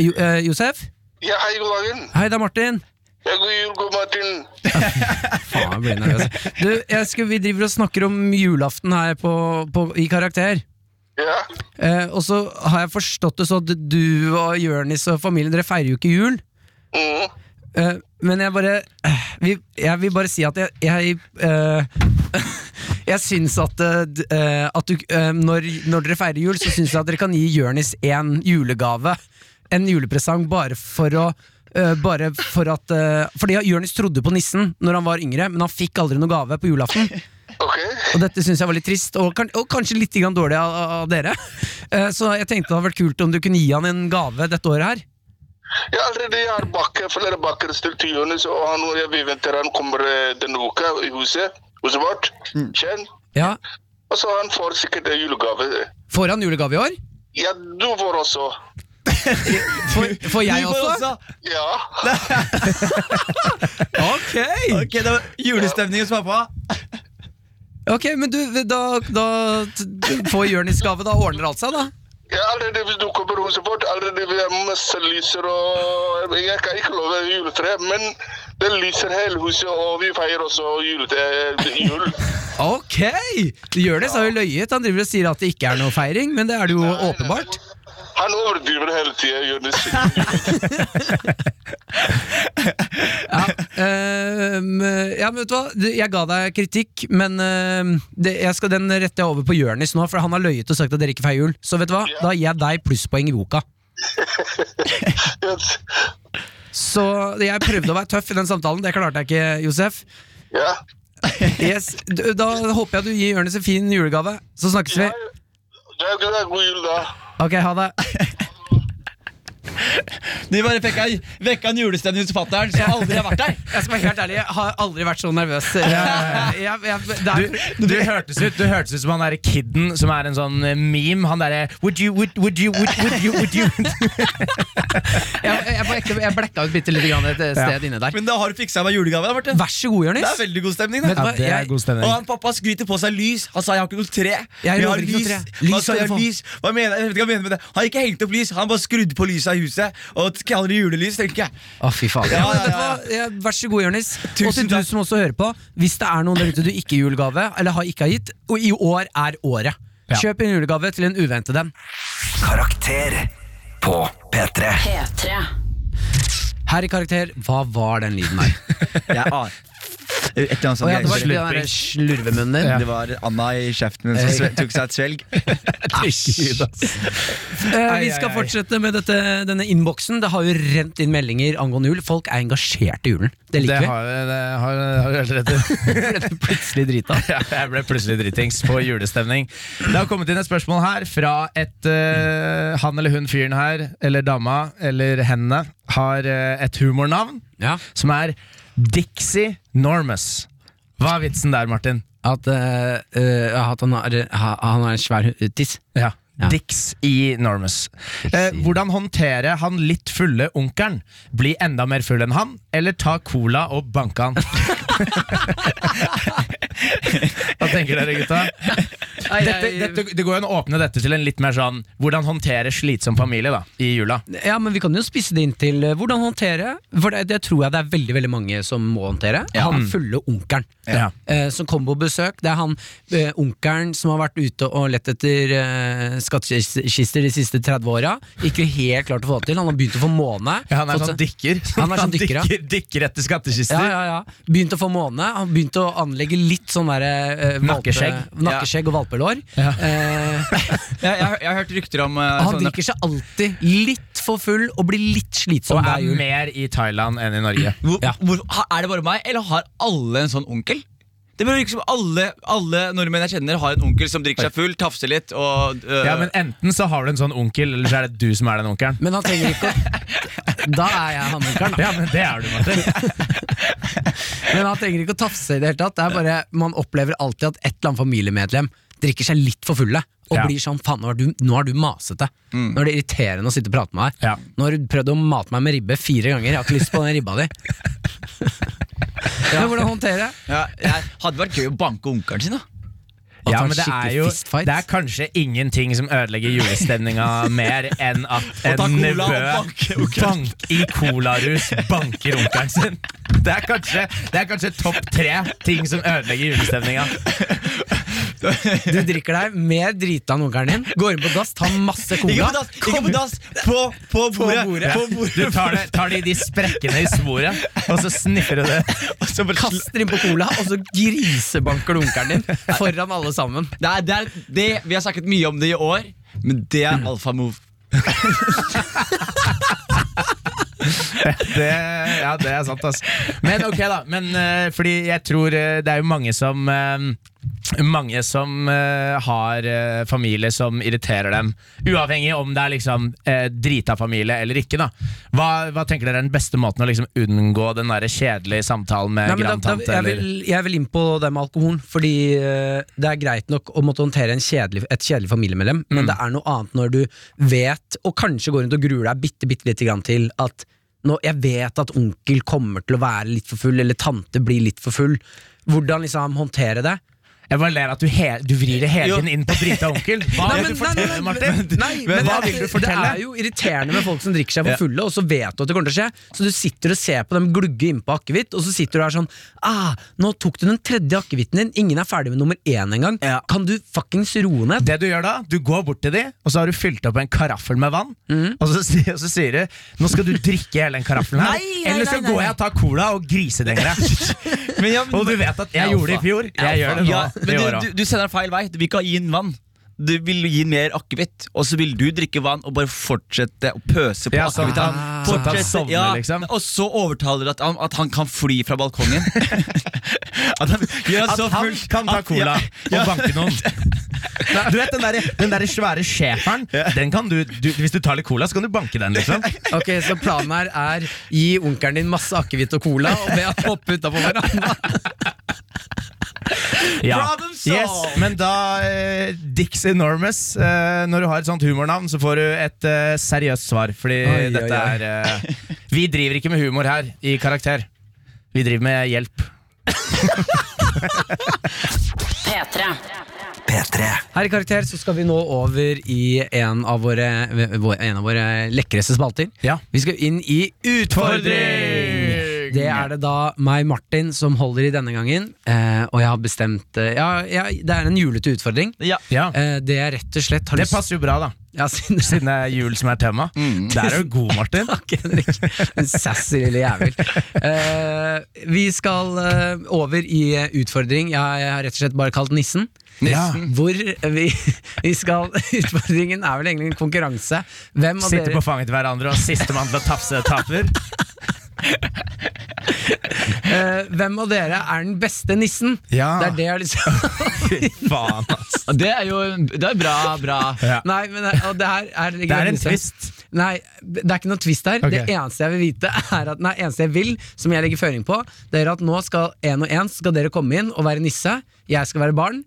Speaker 2: jo, eh, Josef?
Speaker 7: Ja, hei, god dagen.
Speaker 2: Hei, det er Martin
Speaker 7: Ja, god jul, god Martin.
Speaker 2: Faen, jeg blir nervøs Du, jeg skal, vi driver og snakker om julaften her på, på, i karakter
Speaker 7: Ja,
Speaker 2: eh, Og så har jeg forstått det så at du og Jørnis og familien Dere feirer jo ikke jul
Speaker 7: mm.
Speaker 2: eh, Men jeg bare eh, vi, Jeg vil bare si at jeg Jeg, eh, jeg synes at, eh, d- eh, at du, eh, når, når dere feirer jul Så synes jeg at dere kan gi Jørnis en julegave en julepresang bare for å eh, bare for at eh, Fordi Jonis trodde på nissen Når han var yngre, men han fikk aldri noen gave på julaften.
Speaker 7: ok.
Speaker 2: Og dette syns jeg var litt trist, og, kan, og kanskje litt grann dårlig av, av- av dere. Eh, så jeg tenkte det hadde vært kult om du kunne gi han en gave dette året her.
Speaker 7: Jeg har allerede jeg har bakke, flere altså, bakker stilt til Jonis, og han, og jeg, vi venter han kommer eh, denne uka i huset, huset vårt. Kjenn.
Speaker 2: Ja.
Speaker 7: Og så han får sikkert en julegave.
Speaker 2: Får han julegave i år?
Speaker 7: Ja, du får også.
Speaker 2: Får, får jeg
Speaker 4: Du får
Speaker 2: også?
Speaker 7: Ja.
Speaker 2: Ok!
Speaker 4: Ok, det var julestemning hos pappa.
Speaker 2: Ok, Men du, da, da t- du får Jonis gave. Da ordner alt seg, da.
Speaker 7: Ja, allerede hvis du kommer huset vårt, allerede vi har masse lyser og Jeg kan ikke love juletre, men det lyser hele huset, og vi feirer også juletre, jul.
Speaker 2: Ok! Jonis har jo løyet. Han driver og sier at det ikke er noe feiring, men det er det jo åpenbart.
Speaker 7: Han overdriver hele tida, Jonis.
Speaker 2: Ja, ehm, ja, men vet du hva? Du, Jeg ga deg kritikk, men ehm, det, jeg skal, den retter jeg over på Jørnis nå, for han har løyet og sagt at dere ikke feirer jul. Så vet du hva? Da gir jeg deg plusspoeng i boka.
Speaker 7: Yes.
Speaker 2: Så jeg prøvde å være tøff i den samtalen, det klarte jeg ikke, Josef.
Speaker 7: Ja.
Speaker 2: Yes, du, da håper jeg du gir Jørnis en fin julegave, så snakkes vi.
Speaker 7: Ja, god god jul, da.
Speaker 2: Ok, ha det.
Speaker 4: Du bare fikk en, vekka en julestemning hos fatter'n som aldri har vært der.
Speaker 2: Jeg skal være helt ærlig, jeg har aldri vært så nervøs. Jeg, jeg, jeg, det
Speaker 3: Du,
Speaker 2: er,
Speaker 3: du, hørtes ut, du hørtes ut som han derre kidden som er en sånn eh, meme. Han derre Would you, would, would you, would, would you, would you
Speaker 2: jeg, jeg, blekka- jeg blekka ut bitte lite grann et sted inne der.
Speaker 4: Men da har du fiksa meg julegave. da, Martin.
Speaker 2: Vær så god,
Speaker 4: Det er
Speaker 2: Jørnis.
Speaker 4: veldig god stemning. da
Speaker 2: Vet du hva?
Speaker 3: Ja, det er
Speaker 2: Jeg-
Speaker 3: god stemning.
Speaker 4: Og han pappa skryter på seg lys. Han sa 'jeg har ikke noe tre'.
Speaker 2: Jeg
Speaker 4: Vi har
Speaker 2: lover ikke noe tre. Lys
Speaker 4: Han sa
Speaker 2: skal
Speaker 4: jeg
Speaker 2: du
Speaker 4: har
Speaker 2: få.
Speaker 4: lys. Hva mener, jeg vet ikke hva han mener med det. Han har ikke hengt opp lys, han bare skrudd på lyset i huset. Og kaller det julelys, tenker jeg.
Speaker 2: Å, fy faen.
Speaker 4: Ja, ja, ja, ja.
Speaker 2: Vet du hva? Ja, Vær så god, Jonis.
Speaker 4: Tusen
Speaker 2: Og til du
Speaker 4: takk.
Speaker 2: som også hører på, hvis det er noen der ute du ikke gir julegave, eller har ikke har gitt, og i år er året.
Speaker 3: Ja.
Speaker 2: Kjøp en julegave til en uventet en.
Speaker 1: Karakter på P3
Speaker 8: P3.
Speaker 2: Her i Karakter, hva var den lyden her?
Speaker 4: Jeg aner Et eller annet
Speaker 2: Å ja, det var den
Speaker 4: sånt.
Speaker 2: der slurvemunnen din.
Speaker 4: Det var Anna i kjeften min som sve- tok seg et svelg.
Speaker 2: Eh,
Speaker 3: Ai,
Speaker 2: vi
Speaker 3: ai,
Speaker 2: skal
Speaker 3: ai.
Speaker 2: fortsette med dette, denne innboksen. Det har jo rent inn meldinger angående jul. Folk er engasjert i julen. Det
Speaker 3: Det
Speaker 2: liker vi.
Speaker 3: har, det har, har du helt rett i.
Speaker 2: Plutselig drita.
Speaker 3: Ja, Jeg ble plutselig dritings på julestemning. Det har kommet inn et spørsmål her fra et eh, han eller hun fyren her, eller dama, eller henne, har eh, et humornavn
Speaker 2: Ja.
Speaker 3: som er Dixie Normus. Hva er vitsen der, Martin?
Speaker 2: At, eh, eh, at han, har, ha- han har en svær tiss.
Speaker 3: Ja.
Speaker 2: Ja.
Speaker 3: Dix i Normus. Eh, hvordan håndtere han litt fulle onkelen? Bli enda mer full enn han, eller ta cola og banke han? Hva tenker dere, gutta?
Speaker 2: Nei,
Speaker 3: Dette,
Speaker 2: jeg-
Speaker 3: dette, det går jo an å åpne dette til en litt mer sånn Hvordan håndtere slitsom familie da i jula.
Speaker 2: Ja, men Vi kan jo spisse det inn til eh, hvordan håndtere. For det, det tror jeg det er veldig veldig mange som må håndtere. Han fulle onkelen
Speaker 3: Mm. Ja.
Speaker 2: eh, som kom på besøk. Det er han eh, onkelen som har vært ute og lett etter eh, skattkister de siste 30 åra. Ikke helt klart å få til. Han har begynt å få måne.
Speaker 3: Ja, han er
Speaker 2: Fått
Speaker 3: sånn
Speaker 2: seg-
Speaker 3: dykker.
Speaker 2: Han er sånn dykker, ja.
Speaker 3: dykker, dykker etter skattkister.
Speaker 2: ja, ja, ja. Begynt å få måne. Han begynte å anlegge litt sånn derre eh, valpe-
Speaker 3: Nakkeskjegg.
Speaker 2: nakkeskjegg og valpelår. Eh,
Speaker 4: Jeg, jeg, jeg har hørt rykter om eh,
Speaker 2: han
Speaker 4: sånne-
Speaker 2: drikker seg alltid litt for full og blir litt slitsom
Speaker 3: Og
Speaker 2: hver
Speaker 3: er
Speaker 2: jul.
Speaker 3: mer i Thailand enn i Norge.
Speaker 4: hvor,
Speaker 2: Ja.
Speaker 4: hvor, ha- Er det bare meg, eller har alle en sånn onkel? Det bør virke som alle, alle nordmenn jeg kjenner, har en onkel som drikker seg full, tafser litt og øh,
Speaker 3: Ja, men Enten så har du en sånn onkel, eller så er det du som er den onkelen.
Speaker 2: Men han trenger ikke å Da er jeg han onkelen, da.
Speaker 3: Ja, men det er du, Martin.
Speaker 2: Men han trenger ikke å tafse i det hele tatt. Det er bare, Man opplever alltid at et eller annet familiemedlem drikker seg litt for fulle. Og
Speaker 3: Ja.
Speaker 2: blir sånn 'faen, nå er du, nå er du masete'.
Speaker 4: Mm.
Speaker 2: Nå er det irriterende å sitte og prate med deg.
Speaker 3: Ja.
Speaker 2: Nå har du prøvd å mate meg med ribbe fire ganger, jeg har ikke lyst på den ribba di. Men hvordan håndtere?
Speaker 4: ja, jeg, Hadde vært gøy å banke onkelen sin, da.
Speaker 2: At
Speaker 3: Ja,
Speaker 2: han
Speaker 3: men det er
Speaker 2: skikkelig
Speaker 3: jo
Speaker 2: fistfight.
Speaker 3: Det er kanskje ingenting som ødelegger julestemninga mer enn at
Speaker 4: ta
Speaker 3: en
Speaker 4: cola og
Speaker 3: nevø
Speaker 4: banke onkelen.
Speaker 3: bank i colarus banker onkelen sin. Det er kanskje, det er kanskje topp tre ting som ødelegger julestemninga.
Speaker 2: Du drikker deg mer drita enn onkelen din, går inn på dass, tar masse
Speaker 4: Ikke på
Speaker 2: cola.
Speaker 4: dass! Ikke på dass! På, på bordet!
Speaker 2: bordet.
Speaker 4: På bordet.
Speaker 3: Du tar det, tar det i de sprekkene i svoret, og så sniffer du det.
Speaker 4: Og så bare sl-
Speaker 2: Kaster inn på cola, og så grisebanker du onkelen din foran alle sammen.
Speaker 4: Nei, det er det, Vi har snakket mye om det i år, men det er alfa move.
Speaker 3: det, ja, det er sant, ass. Men ok, da. Men, eh, fordi jeg tror eh, det er jo mange som eh, Mange som eh, har eh, familie som irriterer dem. Uavhengig om det er liksom eh, drita familie eller ikke. da Hva, hva tenker dere er den beste måten å liksom unngå den der kjedelige samtalen med
Speaker 2: Nei, men da, da,
Speaker 3: grandtante?
Speaker 2: jeg,
Speaker 3: eller-
Speaker 2: vil, jeg vil inn på det med alkoholen. Fordi eh, det er greit nok å måtte håndtere en kjedelig, et kjedelig familiemedlem,
Speaker 3: Mm.
Speaker 2: men det er noe annet når du vet, og kanskje går rundt og gruer deg bitte, bitte lite grann til, at nå, jeg vet at onkel kommer til å være litt for full, eller tante blir litt for full. Hvordan liksom håndtere det?
Speaker 3: Jeg bare ler at du, he, du vrir det hele
Speaker 4: Jo.
Speaker 3: tiden inn på drita onkel. Hva
Speaker 2: Nei,
Speaker 3: vil
Speaker 2: men- nei,
Speaker 3: du
Speaker 2: nei,
Speaker 3: fortelle,
Speaker 2: nei,
Speaker 3: Martin?
Speaker 2: Nei, men
Speaker 3: Hva
Speaker 2: det,
Speaker 3: vil du
Speaker 2: det
Speaker 3: fortelle?
Speaker 2: er jo irriterende med folk som drikker seg for fulle, og så vet du at det kommer til å skje. Så du sitter og ser på dem glugge innpå akevitt, og så sitter du her sånn ah, 'Nå tok du den tredje akevitten din, ingen er ferdig med nummer én engang.' Kan du fuckings roe ned?
Speaker 3: Det Du gjør da, du går bort til de og så har du fylt opp en karaffel med vann.
Speaker 4: Mm.
Speaker 3: Og, så, si- og så sier du Nå skal du drikke hele den karaffelen her,
Speaker 2: Nei, nei,
Speaker 3: eller så
Speaker 2: nei, nei,
Speaker 3: går jeg og tar cola og grisedenger deg.
Speaker 4: Men ja,
Speaker 3: og du vet at jeg
Speaker 4: Alfa.
Speaker 3: gjorde det i fjor. Jeg gjør det nå.
Speaker 4: Ja,
Speaker 3: det
Speaker 4: men du, du, du sender den feil vei. Du vil ikke gi den vann. Du vil gi den mer akevitt, og så vil du drikke vann og bare fortsette å pøse på
Speaker 3: Ja, sånn at
Speaker 4: akevitten.
Speaker 3: han- sånn at han
Speaker 4: Fortsette-
Speaker 3: sovner, liksom.
Speaker 4: Og så overtaler du at han, at han kan fly fra balkongen. at han gjør han
Speaker 3: At
Speaker 4: så
Speaker 3: han
Speaker 4: fullt
Speaker 3: kan ta
Speaker 4: at-
Speaker 3: cola
Speaker 4: ja, ja.
Speaker 3: og banke noen. Du vet Den derre den derre svære schæferen, den kan du, du Hvis du tar litt cola, så kan du banke den, liksom.
Speaker 2: Ok, Så planen her er gi onkelen din masse akevitt og cola, og be han hoppe utafor verandaen.
Speaker 3: Ja.
Speaker 4: Problem solved!
Speaker 3: Yes, men da eh, Dix Enormous. Eh, når du har et sånt humornavn, så får du et eh, seriøst svar. Fordi
Speaker 2: Oi, oi,
Speaker 3: dette
Speaker 2: oi.
Speaker 3: er eh, Vi driver ikke med humor her i Karakter. Vi driver med hjelp.
Speaker 8: P3.
Speaker 1: P3.
Speaker 2: Her i Karakter så skal vi nå over i en av våre, vår- en av våre lekreste spalter.
Speaker 3: Ja.
Speaker 2: Vi skal inn i Utfordring! Det er det da meg, Martin, som holder i denne gangen. Eh, og jeg har bestemt eh, ja, ja, Det er en julete utfordring.
Speaker 4: Ja.
Speaker 2: Eh, det jeg rett og slett har
Speaker 3: Det
Speaker 2: lyst
Speaker 3: passer jo bra, da.
Speaker 2: ja, siden,
Speaker 3: Siden det er jul som er tema.
Speaker 4: Mm.
Speaker 3: Der er du god, Martin.
Speaker 2: Takk, Henrik. En sassy lille jævel. Eh, vi skal eh, over i eh, Utfordring. Jeg, jeg har rett og slett bare kalt Nissen.
Speaker 3: Ja.
Speaker 2: Hvor eh, vi, vi skal Utfordringen er vel egentlig en konkurranse. Hvem av
Speaker 3: Sitter
Speaker 2: dere
Speaker 3: på fanget til hverandre, og sistemann til å tafse taper.
Speaker 2: Eh, hvem av dere er den beste nissen?
Speaker 3: Ja.
Speaker 2: Det er det jeg har lyst til
Speaker 3: Fy faen, ass.
Speaker 4: Det er jo det er bra, bra.
Speaker 3: Ja.
Speaker 2: Nei, men det- og det her er
Speaker 3: Det er en twist.
Speaker 2: Nei, det er ikke noe twist her. Det
Speaker 3: Ok.
Speaker 2: eneste jeg vil vite, er at Nei, eneste jeg vil, som jeg legger føring på, det er at nå skal en og en skal dere komme inn og være nisse. Jeg skal være barn.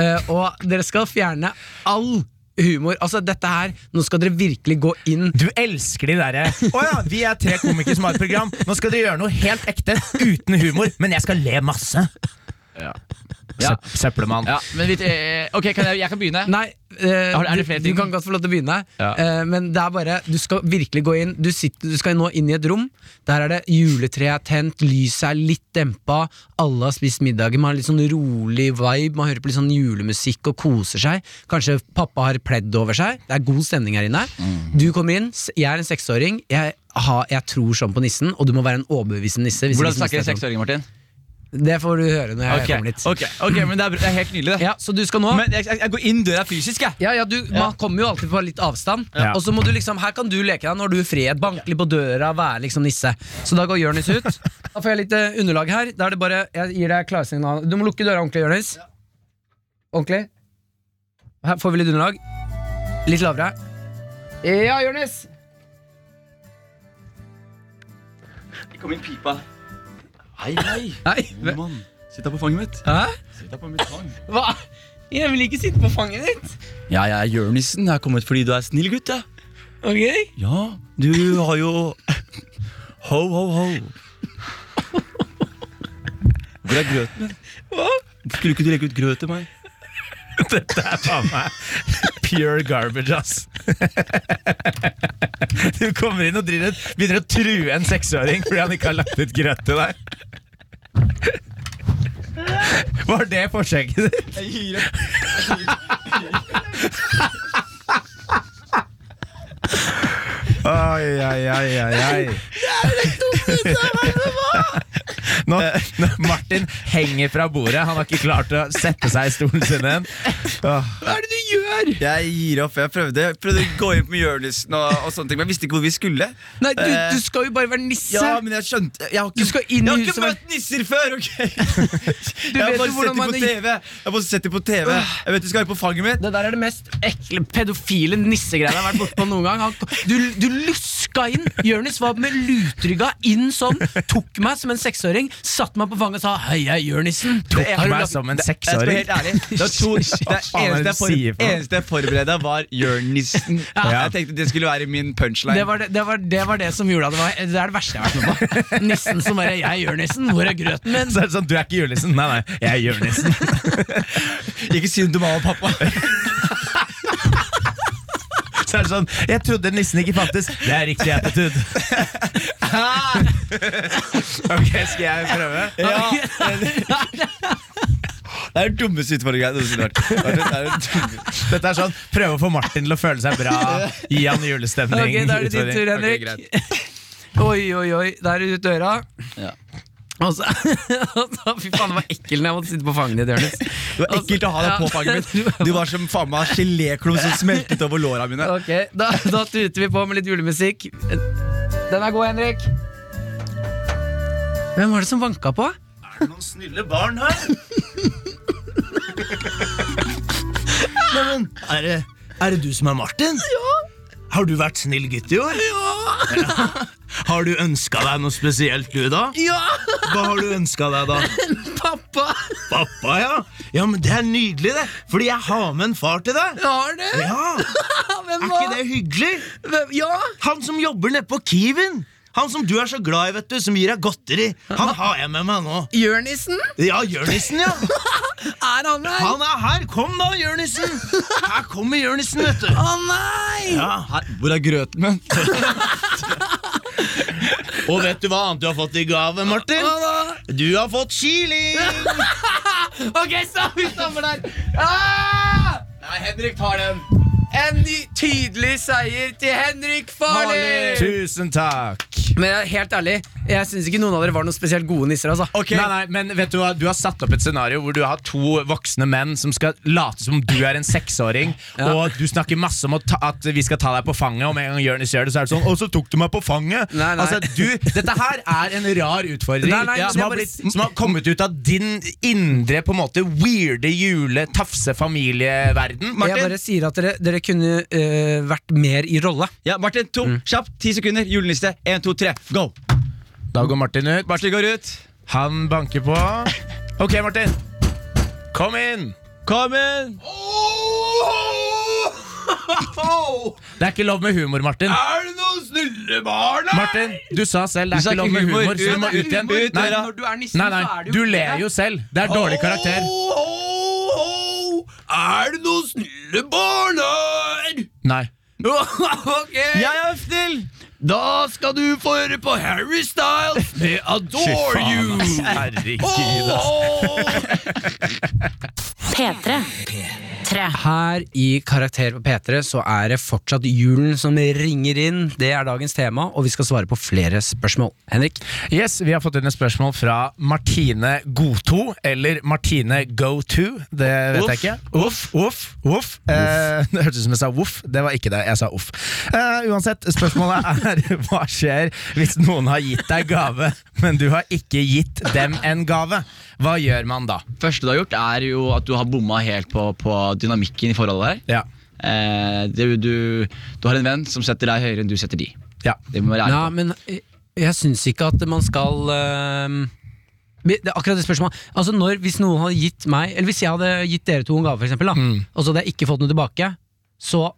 Speaker 2: eh, og dere skal fjerne all humor. Altså, dette her Nå skal dere virkelig gå inn
Speaker 3: Du elsker de derre Å ja, vi er tre komikere som har et program. Nå skal dere gjøre noe helt ekte, uten humor, men jeg skal le masse.
Speaker 4: Ja.
Speaker 3: Sep- Seplemann.
Speaker 4: Ja, men vi, eh, ok, kan jeg, jeg kan begynne.
Speaker 2: Nei, eh,
Speaker 4: Har- er det flere
Speaker 2: du, du
Speaker 4: ting?
Speaker 2: kan godt få lov til å begynne.
Speaker 4: Ja.
Speaker 2: Eh, men det er bare Du skal virkelig gå inn. Du, sitter, du skal nå inn i et rom. Der er det juletreet er tent, lyset er litt dempa, alle har spist middagen. Man har litt sånn rolig vibe, man hører på litt sånn julemusikk og koser seg. Kanskje pappa har pledd over seg. Det er god stemning her inne.
Speaker 4: Mhm.
Speaker 2: Du kommer inn, s- jeg er en seksåring. Jeg, har- jeg tror sånn på nissen, og du må være en overbevisende nisse. hvis
Speaker 4: Hvordan
Speaker 2: ikke så
Speaker 4: snakker en
Speaker 2: mister jeg
Speaker 4: seksåring, Martin?
Speaker 2: sånn. Det får du høre når jeg
Speaker 4: Ok,
Speaker 2: kommer dit.
Speaker 4: ok, ok, men det er, br- det er helt nydelig, det.
Speaker 2: Ja, så du skal nå
Speaker 4: Men jeg, jeg, jeg går inn døra fysisk, jeg.
Speaker 2: Ja, ja, du, Man kommer jo alltid på litt avstand.
Speaker 3: Ja.
Speaker 2: Og så må du liksom, Her kan du leke deg når du er frihet. Banke litt på døra, være liksom nisse. Så da går Jonis ut. Da får jeg litt eh, underlag her. Da er det bare, Jeg gir deg klarsignal. Du må lukke døra ordentlig, Jonis. Ordentlig. Her får vi litt underlag. Litt lavere. Ja, Jonis.
Speaker 5: Kom inn, pipa. Hei, hei.
Speaker 2: Nei.
Speaker 5: God mann. Sitt deg på fanget mitt.
Speaker 2: Hæ?
Speaker 5: Sitt deg på mitt fang.
Speaker 2: Hva? Jeg vil ikke sitte på fanget ditt.
Speaker 5: Ja, jeg er Jørnissen. Jeg har kommet fordi du er snill gutt, jeg.
Speaker 2: Ok?
Speaker 5: Ja, du har jo Ho, ho, ho. Hvor er grøten min?
Speaker 2: Hva?
Speaker 5: Skulle ikke du legge ut grøt til meg?
Speaker 3: Dette er faen meg pure garbage, ass. Du kommer inn og driver, begynner å true en seksåring fordi han ikke har lagt ut grøt til deg. Var det forsøket ditt? Oi, oi, oi, oi, oi. Nå, nå, Martin henger fra bordet. Han har ikke klart å sette seg i stolen sin igjen. Åh.
Speaker 5: Jeg gir opp. Jeg prøvde, jeg prøvde å gå inn med Jørnissen og, og sånne ting, men jeg visste ikke hvor vi skulle.
Speaker 2: Nei, du,
Speaker 5: Eh,
Speaker 2: du skal jo bare være nisse.
Speaker 5: Ja, men jeg skjønte Jeg har ikke,
Speaker 2: Du skal inn i
Speaker 5: jeg har ikke
Speaker 2: huset, men-
Speaker 5: møtt nisser før, ok? jeg har
Speaker 2: vet
Speaker 5: bare
Speaker 2: jo
Speaker 5: sett
Speaker 2: hvordan
Speaker 5: dem på
Speaker 2: man-
Speaker 5: TV. Jeg har bare sett dem på TV Jeg vet du skal være på fanget mitt.
Speaker 2: Det der er det mest ekle pedofile nissegreia jeg har vært bortpå noen gang. Han, du, du luska inn. Jonis var med lutrygga inn sånn, tok meg som en seksåring, satte meg på fanget og sa 'hei, jeg er Jørnissen'.
Speaker 3: Tok
Speaker 2: Har du
Speaker 3: meg
Speaker 2: lagt-
Speaker 3: som en
Speaker 5: Jeg skal være
Speaker 3: seksåring.
Speaker 5: helt ærlig Det, var to, det
Speaker 3: faen er det
Speaker 5: eneste, jeg
Speaker 3: du sier for
Speaker 5: for,
Speaker 3: noe?
Speaker 5: eneste jeg forberedte, var Jørnissen.
Speaker 3: Ja.
Speaker 5: Jeg tenkte det skulle være min punchline.
Speaker 2: Det var det, det, var, det var det som gjorde at det var, Det er det verste jeg har vært med på. Nissen som bare 'jeg er Jørnissen', hvor er grøten min?
Speaker 3: Så er det sånn, du er ikke julenissen. Nei, nei, jeg er julenissen.
Speaker 5: Ikke si du mamma og pappa.
Speaker 3: Så er det sånn, jeg trodde nissen ikke fantes. Det er riktig attitude. ok, skal jeg prøve?
Speaker 5: Ah! Ja, det er den dummeste utfordringen jeg noensinne har vært. Det er den dumme-
Speaker 3: Dette er sånn, prøve å få Martin til å føle seg bra. Gi han julestemning.
Speaker 2: Ok, da er det din
Speaker 3: Utfordring.
Speaker 2: tur,
Speaker 3: Ok,
Speaker 2: Henrik.
Speaker 3: greit.
Speaker 2: oi, oi, oi. Der er du ut døra.
Speaker 4: Ja.
Speaker 2: Og så, og så- Fy faen, det var ekkelt når jeg måtte sitte på fanget ditt, Jonis.
Speaker 5: Det var ekkelt å ha deg på fanget mitt. Du var som faen meg geléklump som smeltet over låra mine.
Speaker 2: Ok, da, da tuter vi på med litt julemusikk. Den er god, Henrik. Hvem var det som vanka på?
Speaker 3: Noen snille barn her. Neimen, er det, er det du som er Martin? Ja. Har du vært snill gutt i år? Ja. Har du ønska deg noe spesielt, du, da?
Speaker 2: Ja,
Speaker 3: Hva har du ønska deg, da?
Speaker 2: pappa!
Speaker 3: Pappa, ja? Ja, men Det er nydelig, det. Fordi jeg har med en far til deg.
Speaker 2: Har du?
Speaker 3: Ja,
Speaker 2: Hvem
Speaker 3: Er
Speaker 2: var
Speaker 3: ikke det hyggelig?
Speaker 2: Hvem? Ja!
Speaker 3: Han som jobber nede på Kiwin. Han som du er så glad i, vet du, som gir deg godteri. Han har jeg med meg nå.
Speaker 2: Jørnissen?
Speaker 3: Ja, Jørnissen, ja.
Speaker 2: Er han her?
Speaker 3: Han er her! Kom da, Jørnissen! Her kommer Jørnissen, vet du.
Speaker 2: Å nei!
Speaker 3: Ja.
Speaker 5: Hvor er grøten min?
Speaker 3: Og vet du hva annet du har fått i gave, Martin?
Speaker 2: Hva da?
Speaker 3: Du har fått chili!
Speaker 2: Ok, stopp! Vi stopper der. Ah!
Speaker 5: Nei, Henrik tar den.
Speaker 2: En ny tydelig seier til Henrik Farley!
Speaker 3: Tusen takk.
Speaker 2: Men jeg er helt ærlig, jeg syns ikke noen av dere var noen spesielt gode nisser. altså
Speaker 3: Nei, nei, men vet Du hva, du har satt opp et scenario hvor du har to voksne menn som skal late som om du er en seksåring,
Speaker 2: Ja.
Speaker 3: og du snakker masse om å ta, at vi skal ta deg på fanget, og med en gang Jørnis gjør det, så er det sånn 'Å, så tok du meg på fanget'.
Speaker 2: Nei, nei.
Speaker 3: Altså, du, Dette her er en rar utfordring
Speaker 2: Nei, nei, men det er
Speaker 3: som, har
Speaker 2: bare-
Speaker 3: blitt, som har kommet ut av din indre på en måte weirde jule-tafse-familieverden.
Speaker 2: Jeg bare sier at dere, dere kunne eh, vært mer i rolle.
Speaker 5: Ja, Martin, to, kjapt, ti sekunder. Julenisse. Én, to, tre, go!
Speaker 3: Da går Martin ut.
Speaker 5: Martin går ut.
Speaker 3: Han banker på. Ok, Martin. Kom inn!
Speaker 5: Kom inn!
Speaker 3: Det er ikke lov med humor, Martin.
Speaker 5: Er det noen snille barn
Speaker 3: Martin, du sa selv det
Speaker 4: Du
Speaker 3: er
Speaker 4: sa
Speaker 3: ikke lov
Speaker 4: ikke
Speaker 3: med
Speaker 4: humor.
Speaker 3: humor. Så
Speaker 4: Jo,
Speaker 3: du må
Speaker 4: det er
Speaker 3: ut igjen.
Speaker 4: humor.
Speaker 3: Nei,
Speaker 4: Dere-
Speaker 2: Når du er nissen, så
Speaker 3: nei,
Speaker 2: er
Speaker 3: nei,
Speaker 2: det jo
Speaker 3: du
Speaker 2: ikke
Speaker 3: ler
Speaker 2: det.
Speaker 3: jo selv. Det er dårlig karakter.
Speaker 5: Er det noen snille barn her?
Speaker 3: Nei.
Speaker 5: ok
Speaker 4: Jeg er snill!
Speaker 5: Da skal du få høre på Harry Styles med Adore You.
Speaker 3: Herregud.
Speaker 8: P3. P3.
Speaker 2: Her i Karakter på P3 så er det fortsatt julen som ringer inn. Det er dagens tema, og vi skal svare på flere spørsmål. Henrik?
Speaker 3: Yes, Vi har fått inn et spørsmål fra Martine Godto, eller Martine Go-to. Det vet jeg ikke. Uff, uff, uff. Eh, det hørtes ut som jeg sa voff. Det var ikke det. Jeg sa uff. Eh, uansett, spørsmålet er hva skjer hvis noen har gitt deg gave, men du har ikke gitt dem en gave? Hva gjør man da?
Speaker 4: første du har gjort, er jo at du har bomma helt på, på dynamikken i forholdet der.
Speaker 3: Ja.
Speaker 4: Eh, det, du, du har en venn som setter deg høyere enn du setter de.
Speaker 3: ja.
Speaker 4: Det må vi være ærlig
Speaker 2: Ja, men jeg, jeg syns ikke at man skal øhm, det er akkurat det spørsmålet. Altså når, Hvis noen hadde gitt meg Eller hvis jeg hadde gitt dere to en gave, for eksempel, da, og så hadde jeg ikke fått noe tilbake, så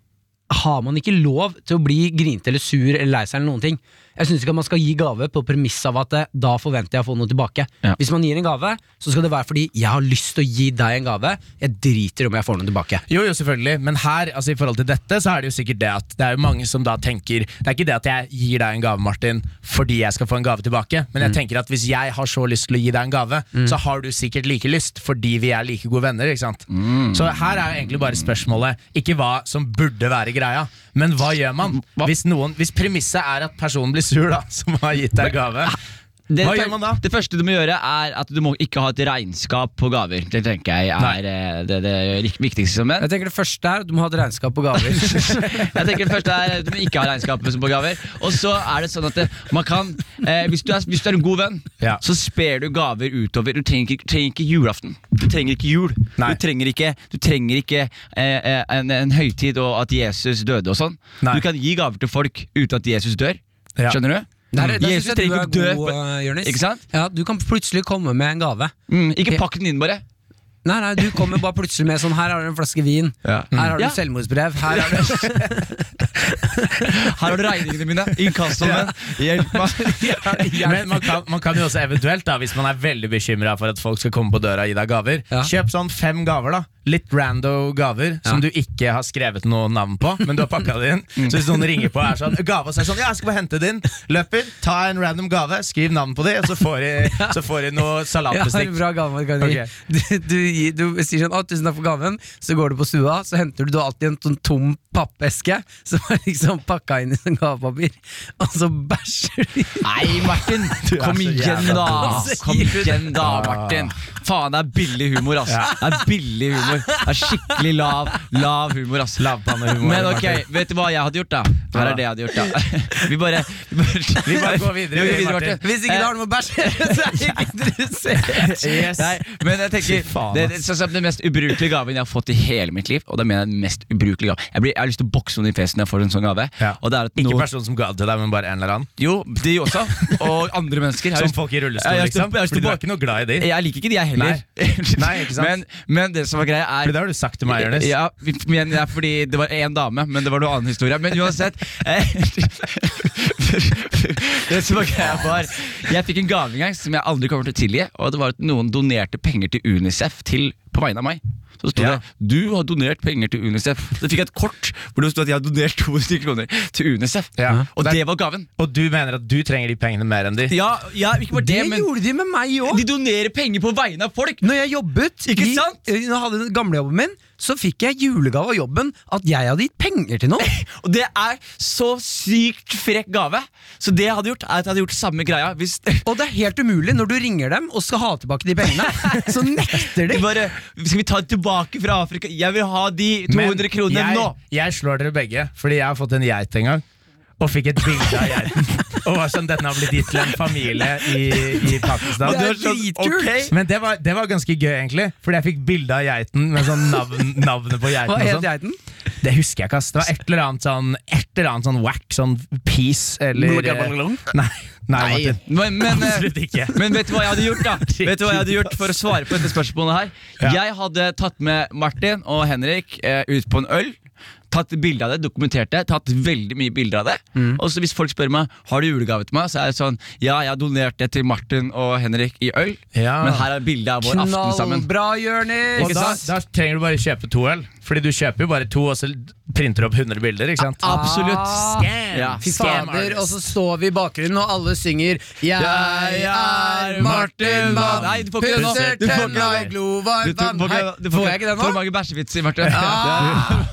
Speaker 2: har man ikke lov til å bli grinete eller sur eller lei seg. eller noen ting Jeg syns ikke at man skal gi gave på premiss av at eh, da forventer jeg å få noe tilbake.
Speaker 4: Ja.
Speaker 2: Hvis man gir en gave, så skal det være fordi jeg har lyst til å gi deg en gave. Jeg driter om jeg får noe tilbake.
Speaker 3: Jo, jo, selvfølgelig, men her, altså i forhold til dette, så er det jo sikkert det at det er jo mange som da tenker Det er ikke det at jeg gir deg en gave, Martin, fordi jeg skal få en gave tilbake, men jeg
Speaker 4: Mm.
Speaker 3: tenker at hvis jeg har så lyst til å gi deg en gave, så har du sikkert like lyst, fordi vi er like gode venner, ikke sant?
Speaker 4: Mm.
Speaker 3: Så her er jo egentlig bare spørsmålet ikke hva som burde være greia, men hva gjør man?
Speaker 4: Hva?
Speaker 3: Hvis, noen, hvis premisset er at personen blir sur, da, som har gitt deg gave,
Speaker 4: ah, Det,
Speaker 3: hva gjør man da?
Speaker 4: Det første du må gjøre, er at du må ikke ha et regnskap på gaver. Det tenker jeg er eh, det, det rik- viktigste som menn.
Speaker 2: Jeg tenker Det første er at du må ha et regnskap på gaver.
Speaker 4: Jeg tenker det første er at Du må ikke ha regnskap på gaver. Og så er det sånn at det, man kan eh, hvis, du er, hvis du er en god venn,
Speaker 3: Ja.
Speaker 4: så sper du gaver utover. Du trenger ikke, trenger ikke julaften. Du trenger ikke jul.
Speaker 3: Nei.
Speaker 4: Du trenger ikke, du trenger ikke eh, eh, en, en høytid og at Jesus døde og sånn.
Speaker 3: Nei.
Speaker 4: Du kan gi gaver til folk uten at Jesus dør.
Speaker 3: Ja. Mm.
Speaker 4: Skjønner du?
Speaker 2: Der, der
Speaker 4: Jesus
Speaker 2: synes jeg du
Speaker 4: trenger
Speaker 2: er
Speaker 4: ikke dø.
Speaker 2: god,
Speaker 4: for-
Speaker 2: eh, Jonis.
Speaker 4: Ikke sant?
Speaker 2: Ja, du kan plutselig komme med en gave.
Speaker 4: Mm, ikke pakk den inn, bare.
Speaker 2: Nei, nei, du kommer bare plutselig med sånn Her har du en flaske vin. Her har du
Speaker 4: Ja.
Speaker 2: selvmordsbrev. Her har du
Speaker 4: Her har du regningene mine. Inkassoen min. Hjelp meg.
Speaker 3: Men man kan, man kan jo også eventuelt, da hvis man er veldig bekymra for at folk skal komme på døra og gi deg gaver,
Speaker 2: Ja.
Speaker 3: kjøp sånn fem gaver. da Litt rando gaver som du ikke har skrevet noe navn på, men du har pakka det inn.
Speaker 4: Mm.
Speaker 3: Så hvis noen ringer på og er sånn gave og sier sånn Ja, jeg skal bare hente din. Løper, ta en random gave, skriv navn på de, og så får de, så får de noe
Speaker 2: Jeg har en
Speaker 3: salatbestikk.
Speaker 2: bra gave. Kan jeg gi. Du, du, gir- du sier sånn 'Å, tusen takk for gaven', så går du på stua, så henter du, du har alltid en sånn tom pappeske som er liksom pakka inn i sånn gavepapir, og så bæsjer du i
Speaker 4: Nei, Martin! Kom
Speaker 3: så
Speaker 4: igjen,
Speaker 3: jævla
Speaker 4: da!
Speaker 2: dum.
Speaker 4: Kom igjen da, Martin! Faen, det er billig humor, ass. Det er billig humor. Det er Skikkelig lav lav humor, ass.
Speaker 3: Lavpannehumor,
Speaker 4: Men ok,
Speaker 3: Martin.
Speaker 4: vet du hva jeg hadde gjort, da? Her er det jeg hadde gjort, da. Vi bare Vi bare,
Speaker 3: Vi bare går videre,
Speaker 4: Vi
Speaker 3: Martin.
Speaker 2: Hvis ikke du har noe med å bæsje, så er jeg ikke interessert.
Speaker 3: Yes.
Speaker 4: Nei, men jeg tenker
Speaker 3: faen,
Speaker 4: det,
Speaker 3: ass.
Speaker 4: det, sånn som den mest ubrukelige gaven jeg har fått i hele mitt liv. Og da mener jeg den mest ubrukelige gaven Jeg, blir, jeg har lyst til å bokse noen i fjeset når jeg får en sånn gave.
Speaker 3: Ja.
Speaker 4: Og det er at
Speaker 3: Ikke
Speaker 4: noen-
Speaker 3: personen som ga det til deg, men bare en eller annen.
Speaker 4: Jo, de også. Og andre mennesker. Jeg har
Speaker 3: Som
Speaker 4: lyst-
Speaker 3: folk i
Speaker 4: Jeg
Speaker 3: rullestol,
Speaker 4: har lyst til-
Speaker 3: liksom.
Speaker 4: jeg har lyst til
Speaker 3: Fordi du
Speaker 4: å
Speaker 3: er ikke noe glad i de.
Speaker 4: Jeg liker ikke de, jeg heller.
Speaker 3: Nei. Nei, ikke sant?
Speaker 4: Men, men det som var greia,
Speaker 3: Fordi
Speaker 4: er
Speaker 3: det har du sagt til meg, Jonis.
Speaker 4: ja, men det er fordi det var én dame, men det var noe annen historie. Men uansett eh, Det som var greia var Jeg fikk en gave en gang som jeg aldri kommer til å tilgi. Og det var at noen donerte penger til Unicef til, på vegne av meg. Så sto
Speaker 3: Ja.
Speaker 4: det 'Du har donert penger til Unicef'. Så fikk jeg et kort hvor det sto at jeg har donert 200 kroner til Unicef.
Speaker 3: Ja.
Speaker 4: Og det var gaven.
Speaker 3: Og du mener at du trenger de pengene mer enn de.
Speaker 4: Ja, ja ikke bare det,
Speaker 2: Det
Speaker 4: men
Speaker 2: gjorde de med meg òg.
Speaker 4: de donerer penger på vegne av folk!
Speaker 2: Når jeg jobbet
Speaker 4: Ikke
Speaker 2: i-
Speaker 4: sant?
Speaker 2: eh, Når jeg hadde den gamle jobben min, så fikk jeg julegave av jobben at jeg hadde gitt penger til noen.
Speaker 4: Og det er så sykt frekk gave. Så det jeg hadde gjort, er at jeg hadde gjort samme greia. Hvis
Speaker 2: Og det er helt umulig når du ringer dem og skal ha tilbake de pengene. Så nekter de.
Speaker 4: bare, Skal vi ta det tilbake fra Afrika? Jeg vil ha de 200 kronene
Speaker 3: jeg,
Speaker 4: nå!
Speaker 3: Jeg slår dere begge, fordi jeg har fått en geit en gang. Og fikk et bilde av geiten. og var sånn, Denne har blitt gitt til en familie i, i Pakistan.
Speaker 2: Det er
Speaker 4: Og du var sånn,
Speaker 2: dritkult.
Speaker 4: ok.
Speaker 3: Men det var, det var ganske gøy, egentlig. Fordi jeg fikk bilde av geiten med sånn navn, navnet på geiten.
Speaker 2: Hva
Speaker 3: og
Speaker 2: het
Speaker 3: sånn.
Speaker 2: geiten?
Speaker 3: Det husker jeg ikke. ass. Det var et eller annet sånn Et eller annet sånn whack, sånn peace eller Nei, nei, Martin.
Speaker 4: Men, men, eh,
Speaker 3: Absolutt ikke.
Speaker 4: men vet du hva jeg hadde gjort da? Vet du hva jeg hadde gjort For å svare på dette spørsmålet her
Speaker 3: Ja.
Speaker 4: Jeg hadde tatt med Martin og Henrik eh, ut på en øl.
Speaker 5: tatt bilde av det, dokumentert det, tatt veldig mye bilder av det.
Speaker 3: Mm.
Speaker 5: Og så hvis folk spør meg har du julegave til meg, så er det sånn ja, jeg har donert det til Martin og Henrik i øl,
Speaker 3: Ja.
Speaker 5: men her er bilde av vår aften sammen.
Speaker 2: Knallbra, Jonis!
Speaker 3: Og da, da trenger du bare kjøpe to øl. Fordi du kjøper jo bare to, og så printer du opp 100 bilder. ikke sant?
Speaker 5: Absolutt.
Speaker 3: Scam!
Speaker 5: Ja.
Speaker 2: Fy fader, og så står vi i bakgrunnen, og alle synger Jeg er Martin Vann,
Speaker 5: Nei, du får ikke den nå.
Speaker 2: pusser
Speaker 5: Du får ikke den nå.
Speaker 2: tenna i
Speaker 5: Du
Speaker 2: glovarmt
Speaker 5: får
Speaker 2: vann.
Speaker 5: ikke-
Speaker 2: Hei,
Speaker 5: du
Speaker 2: Får jeg ikke den
Speaker 5: For
Speaker 2: nå? Ah.
Speaker 5: mange bæsjevitser, Martin.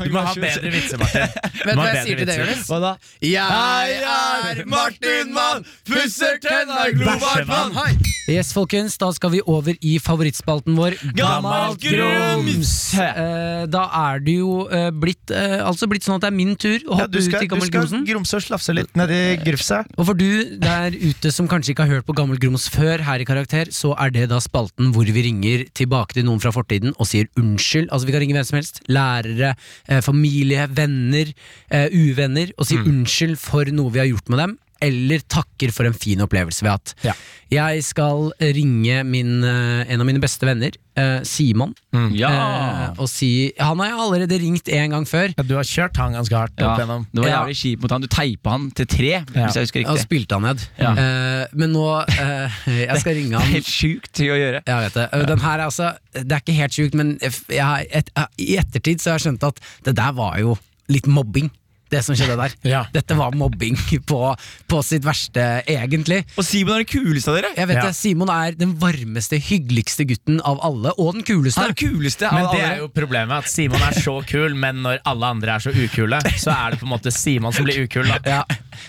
Speaker 3: Du må ha bedre vitser, Martin. Du
Speaker 2: Vet du
Speaker 3: må
Speaker 2: hva
Speaker 3: ha
Speaker 2: jeg sier
Speaker 3: bedre
Speaker 2: til deg,
Speaker 3: vitser.
Speaker 2: Jonis?
Speaker 5: Hva da?
Speaker 2: Jeg er Martin Mann, pusser tenna i glovarmt vann. Hei! Yes, folkens, da skal vi over i favorittspalten vår,
Speaker 5: Gammalt grums.
Speaker 2: Eh, da er det jo eh, blitt, eh, altså blitt sånn at det er min tur å
Speaker 9: Ja,
Speaker 2: hoppe
Speaker 9: du
Speaker 2: ut
Speaker 9: skal,
Speaker 2: i
Speaker 9: du
Speaker 2: Gammel
Speaker 9: skal
Speaker 2: Grumsen.
Speaker 9: grumse og slafse litt
Speaker 3: Eh,
Speaker 9: nedi grufsa.
Speaker 2: Og for du der ute som kanskje ikke har hørt på Gammel Grums før her i Karakter, så er det da spalten hvor vi ringer tilbake til noen fra fortiden og sier unnskyld. Altså vi kan ringe hvem som helst. Lærere, eh, familie, venner, eh, uvenner. Og si unnskyld for noe vi har gjort med dem. Eller takker for en fin opplevelse vi har hatt.
Speaker 3: Ja.
Speaker 2: Jeg skal ringe min, eh, en av mine beste venner, eh, Simon,
Speaker 3: mm.
Speaker 2: eh, og si Han har jeg allerede ringt en gang før.
Speaker 3: Ja, du har kjørt han ganske hardt
Speaker 5: Ja,
Speaker 3: opp gjennom.
Speaker 5: det var
Speaker 2: Ja.
Speaker 5: jævlig kjipt mot han. Du teipa han til tre, hvis jeg husker
Speaker 2: Og
Speaker 5: riktig.
Speaker 2: spilte han ned. Eh, men nå eh, Jeg skal ringe han
Speaker 5: Helt sjukt ting å gjøre.
Speaker 2: Jeg vet det. Øh, Den her er altså, det er ikke helt sjukt, men f- jeg, har et, øh, i ettertid så har jeg skjønt at det der var jo litt mobbing. Det som skjedde der.
Speaker 3: Ja.
Speaker 2: Dette var mobbing på, på sitt verste, egentlig.
Speaker 5: Og Simon er den kuleste av dere!
Speaker 2: Jeg vet
Speaker 3: Ja.
Speaker 2: det, Simon er den varmeste, hyggeligste gutten av alle, og den kuleste.
Speaker 5: Han er den kuleste av
Speaker 3: Men det
Speaker 5: alle.
Speaker 3: er jo problemet at Simon er så kul, men når alle andre er så ukule, så er det på en måte Simon som blir ukul. da
Speaker 2: Ja.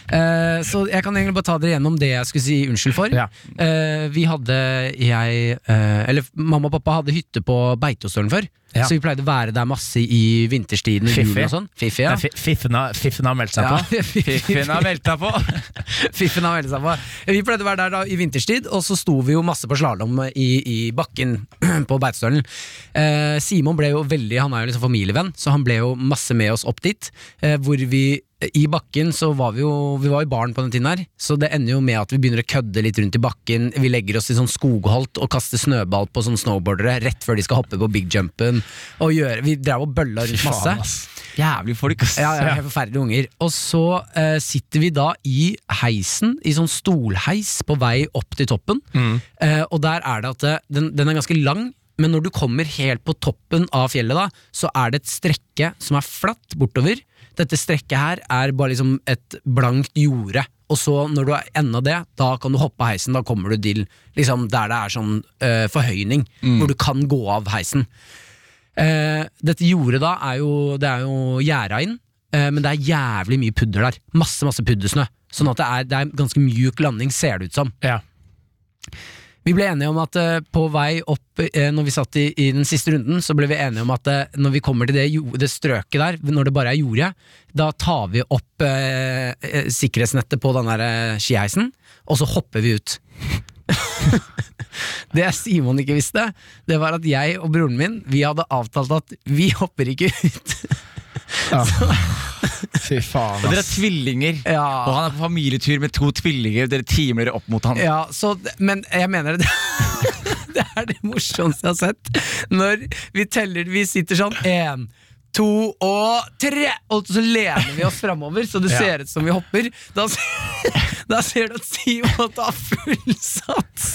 Speaker 2: Eh, så jeg kan egentlig bare ta dere gjennom det jeg skulle si unnskyld for.
Speaker 3: Ja.
Speaker 2: Eh, vi hadde jeg eh, Eller mamma og pappa hadde hytte på Beitostølen før.
Speaker 3: Ja.
Speaker 2: Så vi pleide å være der masse i vinterstiden og julen
Speaker 3: Fiffi.
Speaker 2: og sånn. Fiffi, ja.
Speaker 3: Nei, fi- Fiffen har, fiffen har meldt seg
Speaker 2: Ja,
Speaker 3: på.
Speaker 2: Fiffen
Speaker 5: Fiffen har velta på.
Speaker 2: Fiffen har meldt seg på. Vi pleide å være der da i vinterstid, og så sto vi jo masse på slalåm i, i bakken på Beitostølen. Eh, Simon ble jo veldig, han er jo liksom familievenn, så han ble jo masse med oss opp dit. Eh, hvor vi i bakken så var vi jo Vi var i baren på den tiden her, så det ender jo med at vi begynner å kødde litt rundt i bakken. Vi legger oss i sånn skogholt og kaster snøball på sånn snowboardere rett før de skal hoppe på big jumpen. Og gjøre, vi drev og bølla rundt masse.
Speaker 5: Jævlig folk, ass.
Speaker 2: Ja, ja, helt forferdelige unger. Og så eh, sitter vi da i heisen, i sånn stolheis på vei opp til toppen. Eh, og der er det at det, den, den er ganske lang, men når du kommer helt på toppen av fjellet, da, så er det et strekke som er flatt bortover. Dette strekket her er bare liksom et blankt jorde. Og så når du er enda det, da kan du hoppe av heisen. Da kommer du til liksom, der det er sånn eh, forhøyning, hvor du kan gå av heisen. Eh, dette jordet da er jo, det er jo gjæra inn, eh, men det er jævlig mye pudder der. Masse, masse puddersnø. Sånn at det er, det er en ganske mjuk landing, ser det ut som.
Speaker 3: Ja.
Speaker 2: Vi ble enige om at eh, på vei opp, eh, når vi satt i, i den siste runden, så ble vi enige om at eh, når vi kommer til det, jo- det strøket der, når det bare er jorde, da tar vi opp eh, eh, sikkerhetsnettet på den der eh, skiheisen, og så hopper vi ut. Det Simon ikke visste, det var at jeg og broren min Vi hadde avtalt at vi hopper ikke ut.
Speaker 3: Fy faen,
Speaker 5: Og dere er tvillinger.
Speaker 2: Ja.
Speaker 5: Og han er på familietur med to tvillinger. Dere timer dere opp mot han.
Speaker 2: Ja, så, men jeg mener det Det er det morsomste jeg har sett Når vi teller Vi sitter sånn En, to og tre Og så lener vi oss fremover Så det
Speaker 3: Ja.
Speaker 2: ser ut som vi hopper Da, s- da ser du at Simon tar full sats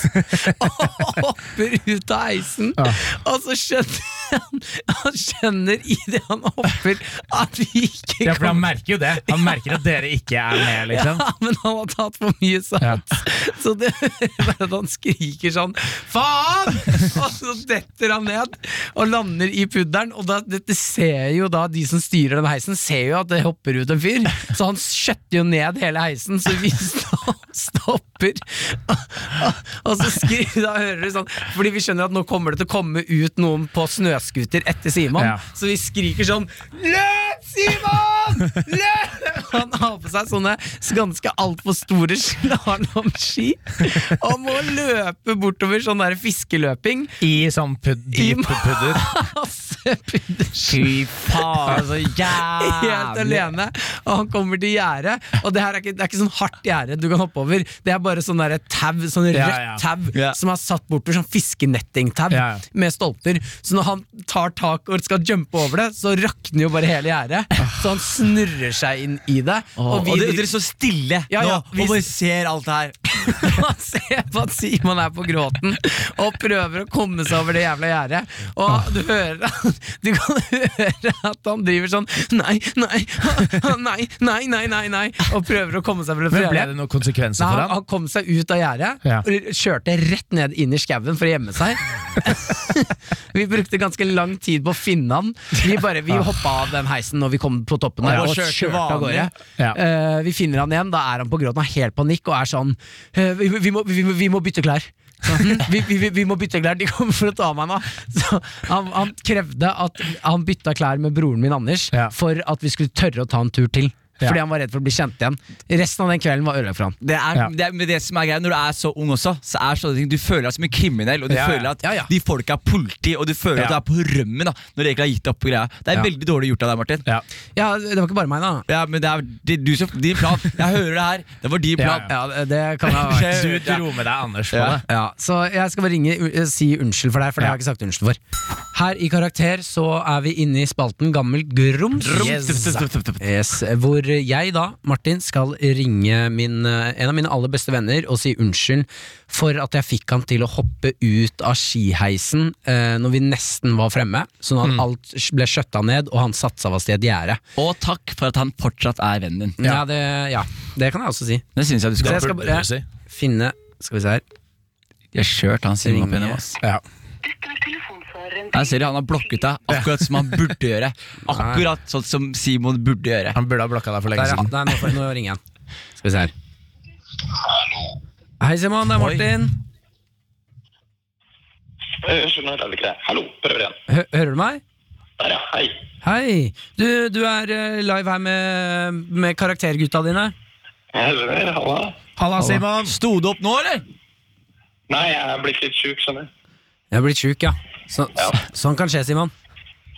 Speaker 2: Og hopper ut av heisen Og så skjønner han Han skjønner i det han hopper At vi ikke
Speaker 3: Ja, for han
Speaker 2: kommer
Speaker 3: merker jo det. Han merker at dere ikke er med, liksom.
Speaker 2: ja, men han har tatt for mye sats. Så det bare at han skriker sånn 'faen!' Og så detter han ned og lander i pudderen. Og da, dette ser jo da de som styrer den heisen, ser jo at det hopper ut en fyr. Så han skjøtter jo ned hele heisen, så vi sto- stopper. Og så skriver, da hører du sånn Fordi vi skjønner at nå kommer det til å komme ut noen på snøskuter etter Simon.
Speaker 3: Ja.
Speaker 2: Så vi skriker sånn 'Løp, Simon!' Lønn! Lønn! Han har på seg sånne ganske altfor store slalåmski og må løpe bortover sånn der fiskeløping.
Speaker 3: I sånn pud dyp pudder.
Speaker 2: Masse pudderski.
Speaker 3: Fy faen,
Speaker 5: altså,
Speaker 3: så
Speaker 2: Helt
Speaker 3: jævlig
Speaker 2: alene, og han kommer til gjerdet. Og det her er ikke, det er ikke sånn hardt gjerde du kan hoppe over, det er bare sånn der tau, sånn
Speaker 3: Ja, ja.
Speaker 2: rødt tau,
Speaker 5: Ja.
Speaker 2: som er satt bortover, sånn fiskenettingtau
Speaker 3: Ja, ja.
Speaker 2: med stolper. Så når han tar tak og skal jumpe over det, så rakner jo bare hele gjerdet. Så han snurrer seg inn i det.
Speaker 5: Og,
Speaker 2: vi
Speaker 5: dere,
Speaker 2: driver-
Speaker 5: dere står stille
Speaker 2: Ja, ja,
Speaker 5: nå
Speaker 2: vi-
Speaker 5: og bare ser alt det her.
Speaker 2: Man ser på at Simon er på gråten og prøver å komme seg over det jævla gjerdet.
Speaker 3: Ah.
Speaker 2: Og du hører at- Du kan høre at han driver sånn Nei, nei, ha, nei, nei, nei, nei, nei og prøver å komme seg over det
Speaker 3: Men ble
Speaker 2: gjerdet.
Speaker 3: det noen konsekvenser
Speaker 2: Nei,
Speaker 3: for
Speaker 2: han,
Speaker 3: han?
Speaker 2: han kom seg ut av gjerdet
Speaker 3: Ja.
Speaker 2: og kjørte rett ned inn i skauen for å gjemme seg. vi brukte ganske lang tid på å finne han. Vi, bare, vi hoppa av den heisen når vi kom på toppen der,
Speaker 5: Og
Speaker 2: og
Speaker 5: kjørte
Speaker 2: kjørte av
Speaker 5: vanlig.
Speaker 2: gårde.
Speaker 3: Ja.
Speaker 2: Eh, vi finner han igjen, da er han på gråten, har helt panikk og er sånn eh, vi, vi, må, vi, må- vi må bytte klær. Sånn, vi, vi, vi- vi må bytte klær, de kommer for å ta meg nå. Så han, han krevde at han bytta klær med broren min Anders
Speaker 3: Ja.
Speaker 2: for at vi skulle tørre å ta en tur til.
Speaker 3: Ja.
Speaker 2: Fordi han var redd for å bli kjent igjen. Resten av den kvelden var ødelagt for han.
Speaker 5: Det er,
Speaker 3: Ja.
Speaker 5: det er men det som er greia Når du er så ung også, så er sånne ting Du føler deg som en kriminell, og du
Speaker 3: Ja, ja.
Speaker 5: føler at
Speaker 2: Ja, ja.
Speaker 5: de folka er politi, og du føler
Speaker 3: Ja.
Speaker 5: at du er på rømmen da når du egentlig har gitt opp på greia. Det er
Speaker 3: Ja.
Speaker 5: veldig dårlig gjort av deg, Martin.
Speaker 3: Ja.
Speaker 2: Ja, det var ikke bare meg, da.
Speaker 5: Ja, men det er det, er du som Din plan. Jeg hører det her. Det var din
Speaker 3: Ja,
Speaker 5: plan.
Speaker 2: Ja, det- det kan ha vært.
Speaker 3: Du dro med deg Anders på
Speaker 5: Ja.
Speaker 3: det.
Speaker 2: Ja, så jeg skal bare ringe u- eh, si unnskyld for deg, for det har jeg ikke sagt unnskyld for. Her i Karakter så er vi inne i spalten Gammelt grums. Yes. Yes, hvor jeg da, Martin, skal ringe min, eh, en av mine aller beste venner og si unnskyld for at jeg fikk han til å hoppe ut av skiheisen eh, når vi nesten var fremme, sånn at alt ble skjøtta ned og han satte seg fast i et gjerde.
Speaker 5: Og takk for at han fortsatt er vennen din.
Speaker 2: Ja. det, ja, det kan jeg også si.
Speaker 5: Det syns jeg du
Speaker 2: Så
Speaker 5: skal.
Speaker 2: jeg skal
Speaker 3: burde du
Speaker 2: bare
Speaker 3: si.
Speaker 2: finne Skal vi se her.
Speaker 5: Jeg har kjørt han Simon opp
Speaker 2: Ringe.
Speaker 5: gjennom. ass.
Speaker 3: Ja.
Speaker 5: Jeg ser det, Han har blokket deg akkurat som han burde gjøre. Akkurat sånn som Simon burde gjøre.
Speaker 3: Han burde ha blokka deg for lenge
Speaker 2: Der, ja.
Speaker 3: siden.
Speaker 2: Nei, nå, får- nå ringer han. sånn. Skal vi se her. Hei, Simon. Det er Martin.
Speaker 6: Unnskyld, nå hørte Eh, jeg ikke det. Hallo, prøver igjen.
Speaker 2: Hø hører du meg?
Speaker 6: Der, ja. Hei.
Speaker 2: Hei. Du, du er eh, live her med, med karaktergutta dine.
Speaker 6: Hei, Halla.
Speaker 3: Halla, Simon!
Speaker 5: Sto du opp nå, eller?
Speaker 6: Nei, jeg er blitt litt sjuk, skjønner du.
Speaker 2: Jeg er blitt sjuk, ja. Så,
Speaker 6: Ja.
Speaker 2: så, sånn kan skje, Simon.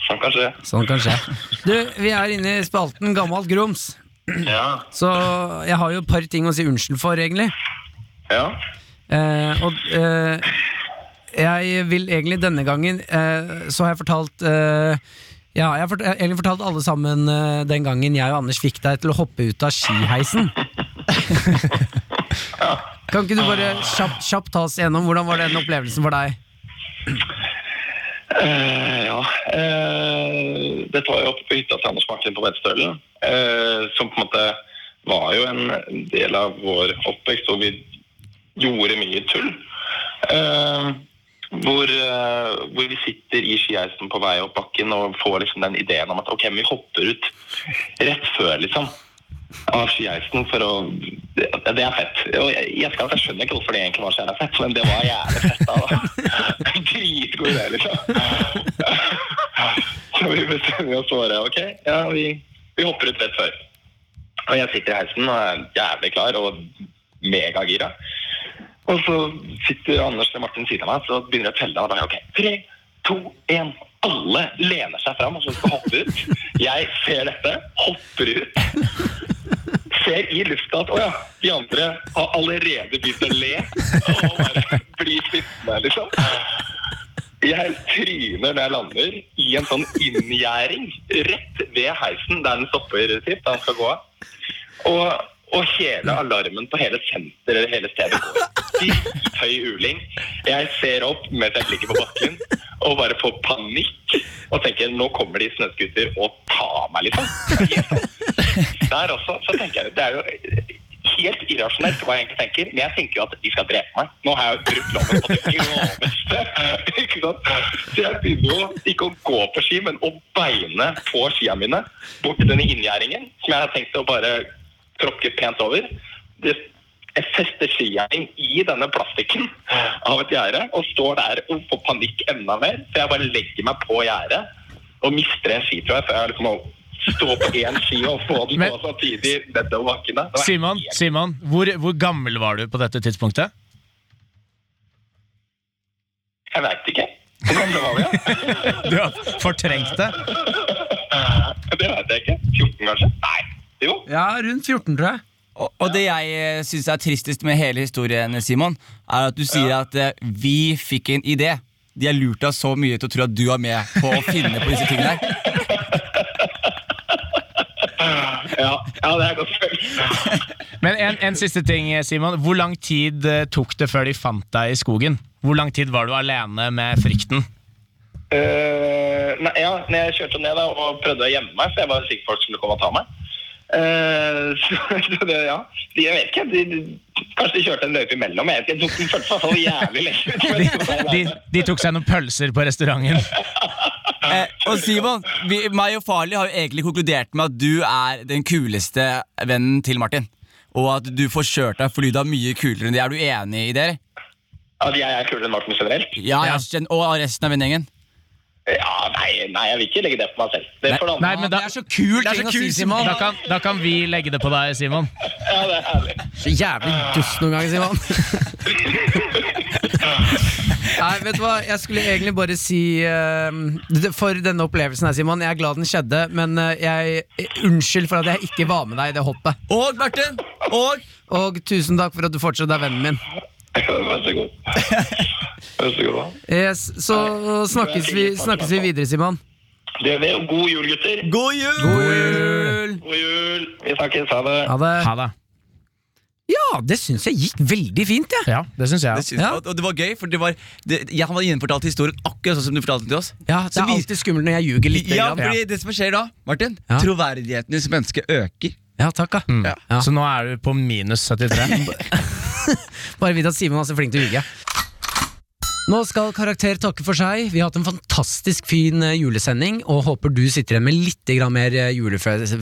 Speaker 6: Sånn kan skje.
Speaker 2: Sånn kan skje. Du, vi er inne i spalten Gammalt grums,
Speaker 6: Ja.
Speaker 2: så jeg har jo et par ting å si unnskyld for, egentlig.
Speaker 6: Ja.
Speaker 2: Eh, og eh, jeg vil egentlig denne gangen eh, Så har jeg fortalt eh, Ja, jeg har fort, jeg har egentlig fortalt alle sammen eh, den gangen jeg og Anders fikk deg til å hoppe ut av skiheisen. kan ikke du bare kjapt, kjapt ta oss gjennom hvordan var den opplevelsen for deg?
Speaker 6: Eh, ja. Eh, dette var jo oppe på hytta til Anders Martin på Vestølen, eh, som på en måte var jo en del av vår oppvekst, og vi gjorde mye tull. Eh, hvor, eh, hvor vi sitter i skiheisen på vei opp bakken og får liksom den ideen om at ok, men vi hopper ut rett før, liksom. Av skiheisen for å Det, det er fett. Og jeg, jeg, skal, jeg skjønner ikke hvorfor det egentlig var så jævla fett, men det var jævlig fett. da. Dritgod idé, liksom. Så vi bestemmer oss bare ok, ja, vi, vi hopper ut rett før. Og jeg sitter i heisen og er jævlig klar og megagira. Og så sitter Anders og Martin siden av meg, så begynner jeg å telle. Og da er jeg, ok, tre, to, en. Alle lener seg fram og så skal hoppe ut. Jeg ser dette, hopper ut. Ser i lufta at å ja, de andre har allerede begynt å le. Og bare blir sittende, liksom. Jeg tryner når jeg lander i en sånn inngjerding rett ved heisen der den stopper sitt, da den skal gå av. Og, og hele alarmen på hele senteret eller hele stedet går. Høy uling. Jeg ser opp mens jeg ligger på bakken og bare får panikk og tenker nå kommer de snøscooter og tar meg, liksom. Der også så tenker jeg det er jo helt irrasjonelt hva jeg egentlig tenker, men jeg tenker jo at de skal drepe meg. Nå har jeg jo brutt loven på det groveste. ikke sant? Så jeg begynner jo ikke å gå på ski, men å beine på skia mine bort til denne inngjerdingen, som jeg har tenkt å bare tråkke pent over. Det, jeg fester skigjerding i denne plastikken av et gjerde og står der og får panikk enda mer. Så jeg bare legger meg på gjerdet og mister en ski, tror jeg, før jeg liksom har stå på én ski og få den
Speaker 9: Men-
Speaker 6: på samtidig nedover bakkene. Det var
Speaker 9: Simon,
Speaker 6: helt-
Speaker 9: Simon hvor, hvor gammel var du på dette tidspunktet?
Speaker 6: Jeg veit ikke. Hvor gamle var vi, da?
Speaker 9: Du har fortrengt det.
Speaker 6: det veit jeg ikke. 14, kanskje? Nei. Jo.
Speaker 2: Ja, rundt 14, tror jeg.
Speaker 4: Og, og det jeg syns er tristest med hele historien, Simon, er at du sier at eh, vi fikk en idé. De har lurt deg så mye til å tro at du er med på å finne på disse tingene her.
Speaker 6: Ja, ja det er godt spørsmål.
Speaker 9: Men en, en siste ting, Simon. Hvor lang tid eh, tok det før de fant deg i skogen? Hvor lang tid var du alene med frykten?
Speaker 6: Eh, nei, ja, når jeg kjørte ned da, og prøvde å gjemme meg, for jeg var sikker på at folk skulle komme og ta meg. Eh, så det, ja. De, jeg vet ikke, de, de, kanskje de kjørte en løype imellom. Jeg vet ikke, det føltes i hvert fall jævlig
Speaker 9: De,
Speaker 6: lenge.
Speaker 9: de tok seg noen pølser på restauranten.
Speaker 4: Eh, og Simon, vi, meg og Farley har jo egentlig konkludert med at du er den kuleste vennen til Martin. Og at du får kjørt deg fordi du er mye kulere enn de. Er du enig i det? eller?
Speaker 6: At jeg er kulere enn Martin generelt?
Speaker 4: Ja, jeg skjønner- Og resten av vennegjengen?
Speaker 6: Ja, nei, nei, jeg vil ikke legge det på meg selv. Det er for det
Speaker 9: Nei,
Speaker 6: andre.
Speaker 9: men da,
Speaker 2: Det er så
Speaker 9: Det
Speaker 2: kul
Speaker 9: er så
Speaker 2: ting å
Speaker 9: kult,
Speaker 2: si, Simon.
Speaker 9: Da kan, da kan vi legge det på deg, Simon.
Speaker 6: Ja, det er herlig.
Speaker 2: Så jævlig dust noen ganger, Simon. Nei, vet du hva, jeg skulle egentlig bare si eh, det- For denne opplevelsen her, Simon. Jeg er glad den skjedde, men eh, jeg Unnskyld for at jeg ikke var med deg i det hoppet.
Speaker 4: Og Martin! Og
Speaker 2: Og tusen takk for at du fortsatt er vennen min.
Speaker 6: Vær så god. Vær så god.
Speaker 2: Yes, så snakkes vi, snakkes vi videre, Simon.
Speaker 6: Det er det. og God jul, gutter.
Speaker 4: god jul!
Speaker 6: God jul. Vi snakkes. Ha det.
Speaker 2: Ha det.
Speaker 9: Ha det.
Speaker 2: Ja, det syns jeg gikk veldig fint, jeg.
Speaker 9: Ja, det syns
Speaker 4: Det
Speaker 9: jeg.
Speaker 4: synes,
Speaker 2: Ja.
Speaker 4: og, og det var gøy, for det var det, jeg har gjenfortalt historien akkurat sånn som du fortalte den til oss.
Speaker 2: Ja, det
Speaker 4: Så
Speaker 2: er
Speaker 4: vi-
Speaker 2: alltid skummelt når jeg ljuger litt.
Speaker 4: ja,
Speaker 2: grann.
Speaker 4: fordi det som skjer da, Martin,
Speaker 2: Ja.
Speaker 4: troverdigheten hos mennesket øker.
Speaker 2: ja takk, da.
Speaker 9: Mm.
Speaker 2: Ja.
Speaker 9: Så nå er du på minus 73.
Speaker 2: Bare vit at Simon er så flink til å ljuge. Nå skal Karakter takke for seg. Vi har hatt en fantastisk fin eh, julesending, og håper du sitter igjen med litt grann mer eh, julefølelse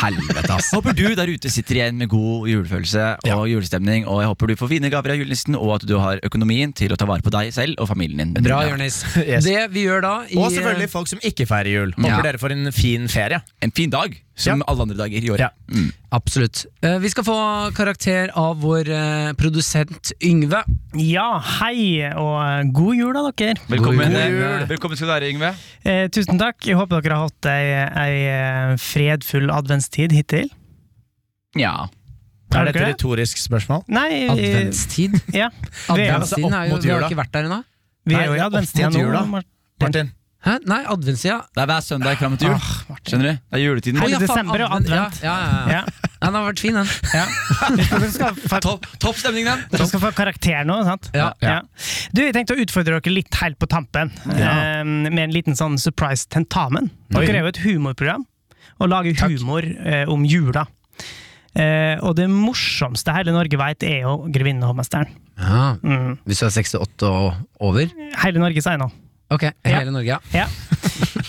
Speaker 2: Helvete, ass.
Speaker 4: Håper du der ute sitter igjen med god julefølelse og julestemning, og jeg håper du får fine gaver av julenissen, og at du har økonomien til å ta vare på deg selv og familien din.
Speaker 2: Bra,
Speaker 4: Ja.
Speaker 2: Jonis.
Speaker 9: Yes.
Speaker 2: Det vi gjør da i, eh,
Speaker 3: Og selvfølgelig folk som ikke feirer jul. Håper
Speaker 2: Ja.
Speaker 3: dere får en fin ferie.
Speaker 4: En fin dag, som alle andre dager i året.
Speaker 9: Ja.
Speaker 2: Absolutt. Eh, Vi skal få karakter av vår eh, produsent Yngve.
Speaker 10: Ja, hei, og eh, god jul da, dere.
Speaker 4: Velkommen,
Speaker 2: God jul.
Speaker 4: eh, velkommen skal du være, Yngve.
Speaker 10: Eh, tusen takk. Jeg håper dere har hatt ei, ei eh, fredfull adventstid hittil.
Speaker 4: Ja.
Speaker 10: Har
Speaker 9: Er dette
Speaker 10: dere
Speaker 9: et retorisk spørsmål?
Speaker 10: Nei, eh,
Speaker 2: Adventstid.
Speaker 10: Ja. Vi er,
Speaker 9: altså
Speaker 2: Adventstiden
Speaker 9: opp
Speaker 2: er jo
Speaker 9: mot
Speaker 2: Vi har
Speaker 9: jula.
Speaker 2: ikke vært der ennå.
Speaker 10: vi er jo i
Speaker 9: Nei, opp mot
Speaker 10: adventstida nå.
Speaker 9: jula.
Speaker 10: Mar-
Speaker 9: Martin?
Speaker 2: Hæ? Nei, adventstida.
Speaker 4: Det er hver søndag fram til jul. Skjønner du? Det er juletiden.
Speaker 10: Hei.
Speaker 2: Å, ja, faen,
Speaker 10: desember og advent.
Speaker 2: Ja, ja, ja, ja.
Speaker 10: Ja.
Speaker 2: ja, den har vært fin, den.
Speaker 10: Ja. Dere skal få-
Speaker 4: Topp topp stemning, den!
Speaker 10: dere skal få karakter nå, sant?
Speaker 2: Ja.
Speaker 10: Du, jeg tenkte å utfordre dere litt helt på tampen, eh, med en liten sånn surprise tentamen. Dere er jo et humorprogram, og lager humor eh, om jula. Eh, og det morsomste hele Norge vet, er jo 'Grevinnen og hovmesteren'.
Speaker 2: Ja.
Speaker 10: Mm.
Speaker 2: Hvis du er 68 og over?
Speaker 10: Hele Norge sier nå.
Speaker 2: Ok, hele
Speaker 10: Ja.
Speaker 2: Norge, ja.
Speaker 10: Ja.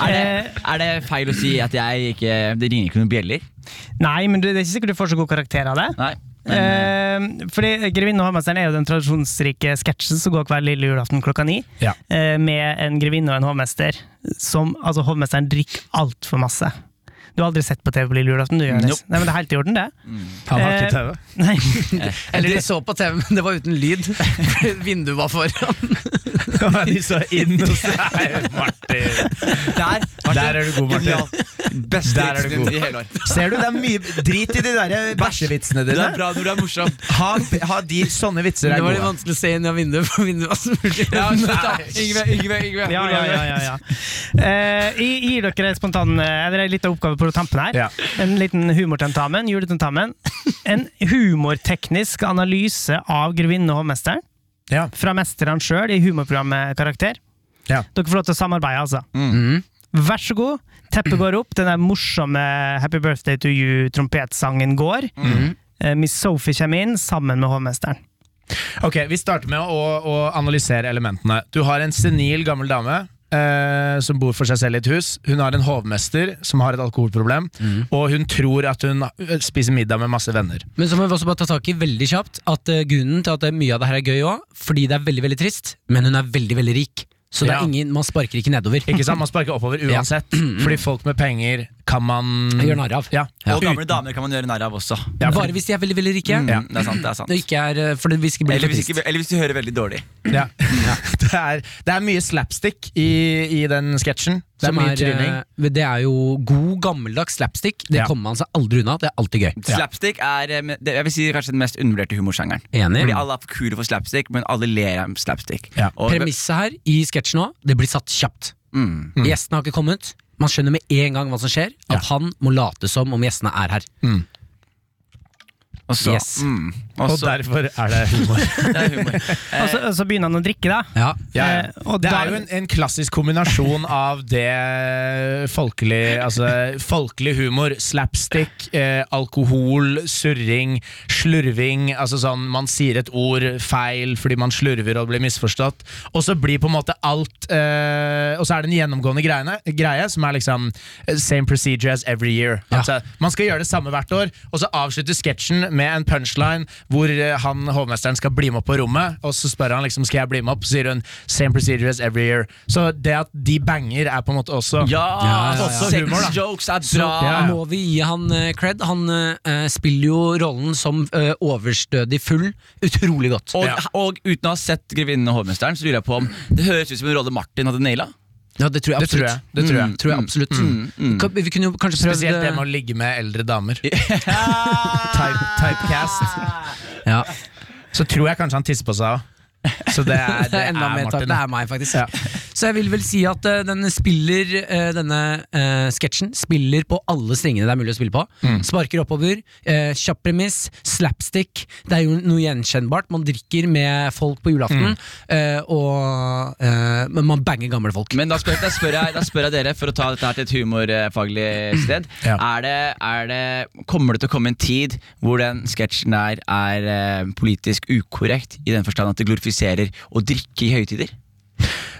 Speaker 4: Er det, er det feil å si at jeg ikke Det ringer ikke noen bjeller?
Speaker 10: Nei, men det det er ikke sikkert du får så god karakter av det.
Speaker 4: Nei. Men,
Speaker 10: Eh, fordi 'Grevinnen og hovmesteren' er jo den tradisjonsrike sketsjen som går hver lille julaften klokka ni.
Speaker 9: Ja.
Speaker 10: eh, med en grevinne og en hovmester. Som, altså, hovmesteren drikker altfor masse. Du har aldri sett på TV på lille julaften? du Jonas.
Speaker 4: Nope.
Speaker 10: Nei, men Det er helt i orden, det.
Speaker 9: Han har ikke
Speaker 10: Eh,
Speaker 9: TV.
Speaker 10: Nei.
Speaker 2: Eller de så på TV, men det var uten lyd. Vinduet var foran.
Speaker 9: De så inn hos deg, Martin.
Speaker 4: eh, der,
Speaker 9: Der er du god, Martin.
Speaker 4: Beste
Speaker 9: Der er du
Speaker 4: vitsen
Speaker 9: god.
Speaker 4: i hele år.
Speaker 3: Ser du, det er mye Drit i de der bæsjevitsene
Speaker 4: Du
Speaker 3: dine.
Speaker 4: er bra når du er morsom.
Speaker 3: Ha, ha de sånne vitser
Speaker 2: Det
Speaker 3: er
Speaker 2: var litt
Speaker 3: gode.
Speaker 2: vanskelig å se inn av vinduet, for vinduet var smurt.
Speaker 4: Ja, slutt, da. Yngve, Yngve, Yngve.
Speaker 10: Ja, ja, ja, ja, ja. Eh, jeg jeg gir dere en spontan eh, Eller en liten oppgave på tampen her.
Speaker 9: Ja.
Speaker 10: En liten humortentamen. Juletentamen. En humorteknisk analyse av 'Grevinnen og hovmesteren'
Speaker 9: Ja.
Speaker 10: fra mesterne sjøl i humorprogrammet Karakter.
Speaker 9: Ja.
Speaker 10: Dere får lov til å samarbeide, altså. Vær så god. Teppet går opp, den der morsomme 'Happy Birthday to You'-trompetsangen går. Eh, Miss Sophie kommer inn sammen med hovmesteren.
Speaker 9: Ok, Vi starter med å, å analysere elementene. Du har en senil gammel dame eh, som bor for seg selv i et hus. Hun har en hovmester som har et alkoholproblem,
Speaker 3: Mm.
Speaker 9: og hun tror at hun eh, spiser middag med masse venner.
Speaker 2: Men så må vi også bare ta tak i veldig kjapt at eh, grunnen til at eh, mye av det her er gøy òg, fordi det er veldig veldig trist, men hun er veldig veldig rik. Så det
Speaker 9: Ja.
Speaker 2: er ingen, man sparker ikke nedover.
Speaker 9: Ikke sant? Man sparker oppover uansett, fordi folk med penger
Speaker 3: kan man
Speaker 2: Gjør narr av.
Speaker 3: Ja.
Speaker 2: Ja.
Speaker 4: Og gamle damer kan man gjøre narr av også.
Speaker 2: Bare hvis de er veldig veldig rike.
Speaker 4: Mm, Det er sant, det er sant.
Speaker 2: Når de ikke er, eh, for det- hvis ikke blir
Speaker 4: Eller
Speaker 2: det
Speaker 4: hvis,
Speaker 2: trist.
Speaker 4: ikke, eller hvis du hører veldig dårlig.
Speaker 3: Ja. Det, er, det er mye slapstick i, i den sketsjen. Det er
Speaker 2: Som
Speaker 3: mye
Speaker 2: er,
Speaker 3: tryning.
Speaker 2: eh, det er jo god, gammeldags slapstick. Det
Speaker 3: Ja.
Speaker 2: kommer man seg aldri unna. Det er alltid gøy.
Speaker 4: Slapstick er eh, men det- jeg vil si, kanskje den mest undervurderte humorsjangeren.
Speaker 2: Enig.
Speaker 4: Fordi alle er for kule for slapstick, men alle ler av slapstick.
Speaker 3: Ja.
Speaker 4: Og-
Speaker 2: Premisset her i sketsjen òg, det blir satt kjapt.
Speaker 4: Mm.
Speaker 2: Gjestene har ikke kommet. Man skjønner med en gang hva som skjer, at han må late som om gjestene er her.
Speaker 4: Og så,
Speaker 2: Yes.
Speaker 4: mm,
Speaker 3: Og
Speaker 4: og så
Speaker 3: derfor er det humor.
Speaker 10: Og så, og så begynner han å drikke, da.
Speaker 2: Ja.
Speaker 3: Ja,
Speaker 10: Eh,
Speaker 3: ja.
Speaker 10: og
Speaker 3: Det
Speaker 10: da-
Speaker 3: er jo en, en klassisk kombinasjon av det folkelig, altså, folkelig humor, slapstick, eh, alkohol, surring, slurving. Altså sånn man sier et ord feil fordi man slurver og blir misforstått. Og så blir på en måte alt eh, Og så er det en gjennomgående greiene, greie som er liksom eh, same procedure as every year.
Speaker 2: Ja.
Speaker 3: Altså, man skal gjøre det samme hvert år, og så avslutter sketsjen med en punchline hvor eh, han, hovmesteren skal bli med opp på rommet, og så spør han liksom, skal jeg bli med opp, så sier hun same procedure as every year. Så det at de banger er på en måte også
Speaker 4: Ja!
Speaker 3: ja, ja.
Speaker 4: Sex
Speaker 3: Humor, da.
Speaker 4: jokes er
Speaker 2: Så
Speaker 4: bra!
Speaker 3: Ja, ja.
Speaker 2: må vi gi han eh, cred. Han eh, spiller jo rollen som eh, overstødig full utrolig godt.
Speaker 4: Og,
Speaker 3: Ja.
Speaker 4: og uten å ha sett 'Grevinnen og hovmesteren', så lurer jeg på om det høres ut som en rolle Martin hadde naila.
Speaker 2: Ja, det tror jeg
Speaker 3: Det tror
Speaker 2: absolutt.
Speaker 3: jeg. Det tror jeg.
Speaker 2: Mm, tror jeg absolutt. Kan- Vi kunne jo kanskje prøvd
Speaker 3: Spesielt det
Speaker 2: eh,
Speaker 3: med å ligge med eldre damer.
Speaker 2: Ah!
Speaker 3: Type, typecast.
Speaker 2: ja.
Speaker 3: Så tror jeg kanskje han tisser på seg òg. Så det er,
Speaker 2: Det er enda mer tap.
Speaker 3: Martin.
Speaker 2: Det er meg, faktisk.
Speaker 3: Ja.
Speaker 2: Så jeg vil vel si at eh, den spiller eh, denne eh, sketsjen spiller på alle stringene det er mulig å spille på.
Speaker 3: Mm.
Speaker 2: Sparker oppover, eh, kjapp premiss, slapstick. Det er jo noe gjenkjennbart. Man drikker med folk på
Speaker 3: Mm.
Speaker 2: julaften, eh, og eh, men man banger gamle folk.
Speaker 4: Men da spør, da, spør jeg, da spør jeg dere, for å ta dette her til et humorfaglig sted
Speaker 3: Ja.
Speaker 4: er det, er det, Kommer det til å komme en tid hvor den sketsjen der er eh, politisk ukorrekt, i den forstand at det glorifiserer å drikke i høytider?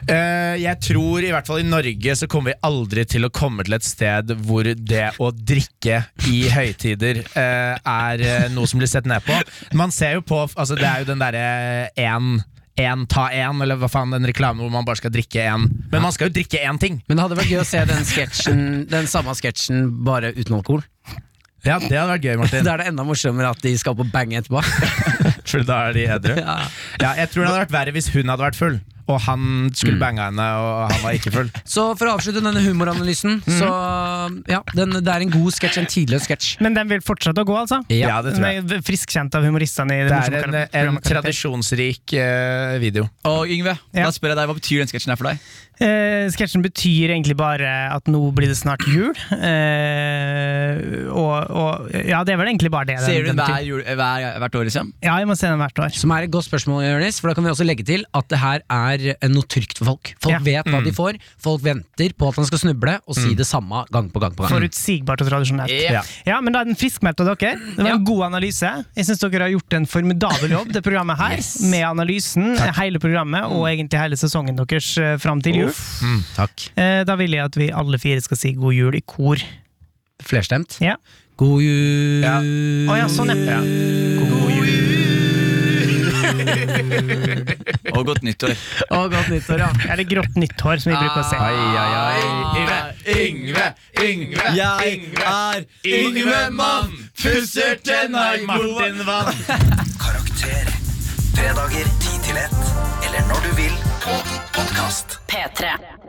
Speaker 3: Eh, jeg tror i hvert fall i Norge så kommer vi aldri til å komme til et sted hvor det å drikke i høytider eh, er eh, noe som blir sett ned på. Man ser jo på altså Det er jo den derre én Én ta én, eller hva faen den reklamen hvor man bare skal drikke én. Men man skal jo drikke én ting!
Speaker 2: Men det hadde vært gøy å se den, sketsjen, den samme sketsjen bare uten alkohol.
Speaker 3: Ja, Det hadde vært gøy,
Speaker 2: Da
Speaker 3: Martin.
Speaker 2: er det enda morsommere at de skal på bang etterpå.
Speaker 3: For da er de edru.
Speaker 2: Ja.
Speaker 3: Ja, jeg tror det hadde vært verre hvis hun hadde vært full, og han skulle bange henne, og han var ikke full.
Speaker 2: Så for å avslutte denne humoranalysen, så ja, den, det er en god sketsj, en tidløs sketsj.
Speaker 10: Men den vil fortsette å gå, altså?
Speaker 2: Ja.
Speaker 3: Ja, det tror jeg.
Speaker 10: Den er Friskkjent av humoristene i det,
Speaker 3: Det er en,
Speaker 10: morsomme kar-
Speaker 3: en
Speaker 10: programmet Karakter.
Speaker 3: tradisjonsrik eh, video.
Speaker 4: Og Yngve,
Speaker 10: Ja.
Speaker 4: da spør jeg deg, hva betyr den sketsjen her for deg?
Speaker 10: Eh, sketsjen betyr egentlig bare at nå blir det snart jul. Eh, og, og Ja, det er vel egentlig bare det. den-
Speaker 4: Ser du
Speaker 10: den
Speaker 4: den
Speaker 10: betyr.
Speaker 4: hver, jul, hver, hvert år, liksom?
Speaker 10: Ja, jeg må se den hvert år.
Speaker 2: Som er et godt spørsmål, Jonis, for da kan vi også legge til at det her er eh, noe trygt for folk. Folk
Speaker 10: Ja.
Speaker 2: vet hva de får, folk venter på at han skal snuble og si det samme gang på gang. på gang
Speaker 10: Forutsigbart og tradisjonelt.
Speaker 3: Ja.
Speaker 10: Ja, men da er den friskmeldte av dere. Det var en god analyse. Jeg syns dere har gjort en formidabel jobb, det programmet her. Med analysen, hele programmet og
Speaker 3: Mm.
Speaker 10: egentlig hele sesongen deres eh, fram til jul.
Speaker 2: Takk.
Speaker 10: Eh, Da vil jeg at vi alle fire skal si god jul i kor.
Speaker 2: Flerstemt.
Speaker 10: Ja.
Speaker 2: God jul.
Speaker 3: Ja.
Speaker 10: Å ja, sånn, ja.
Speaker 3: Mm.
Speaker 4: Og godt nyttår.
Speaker 2: Og godt nyttår, ja.
Speaker 10: Eller grått nytt hår, som vi bruker å si.
Speaker 3: Ai, ai, ai. Yngve, Yngve,
Speaker 4: er
Speaker 3: Martin Vann.
Speaker 1: Karakter. Fredager 10 til 1, eller når du vil på podkast.
Speaker 8: P3.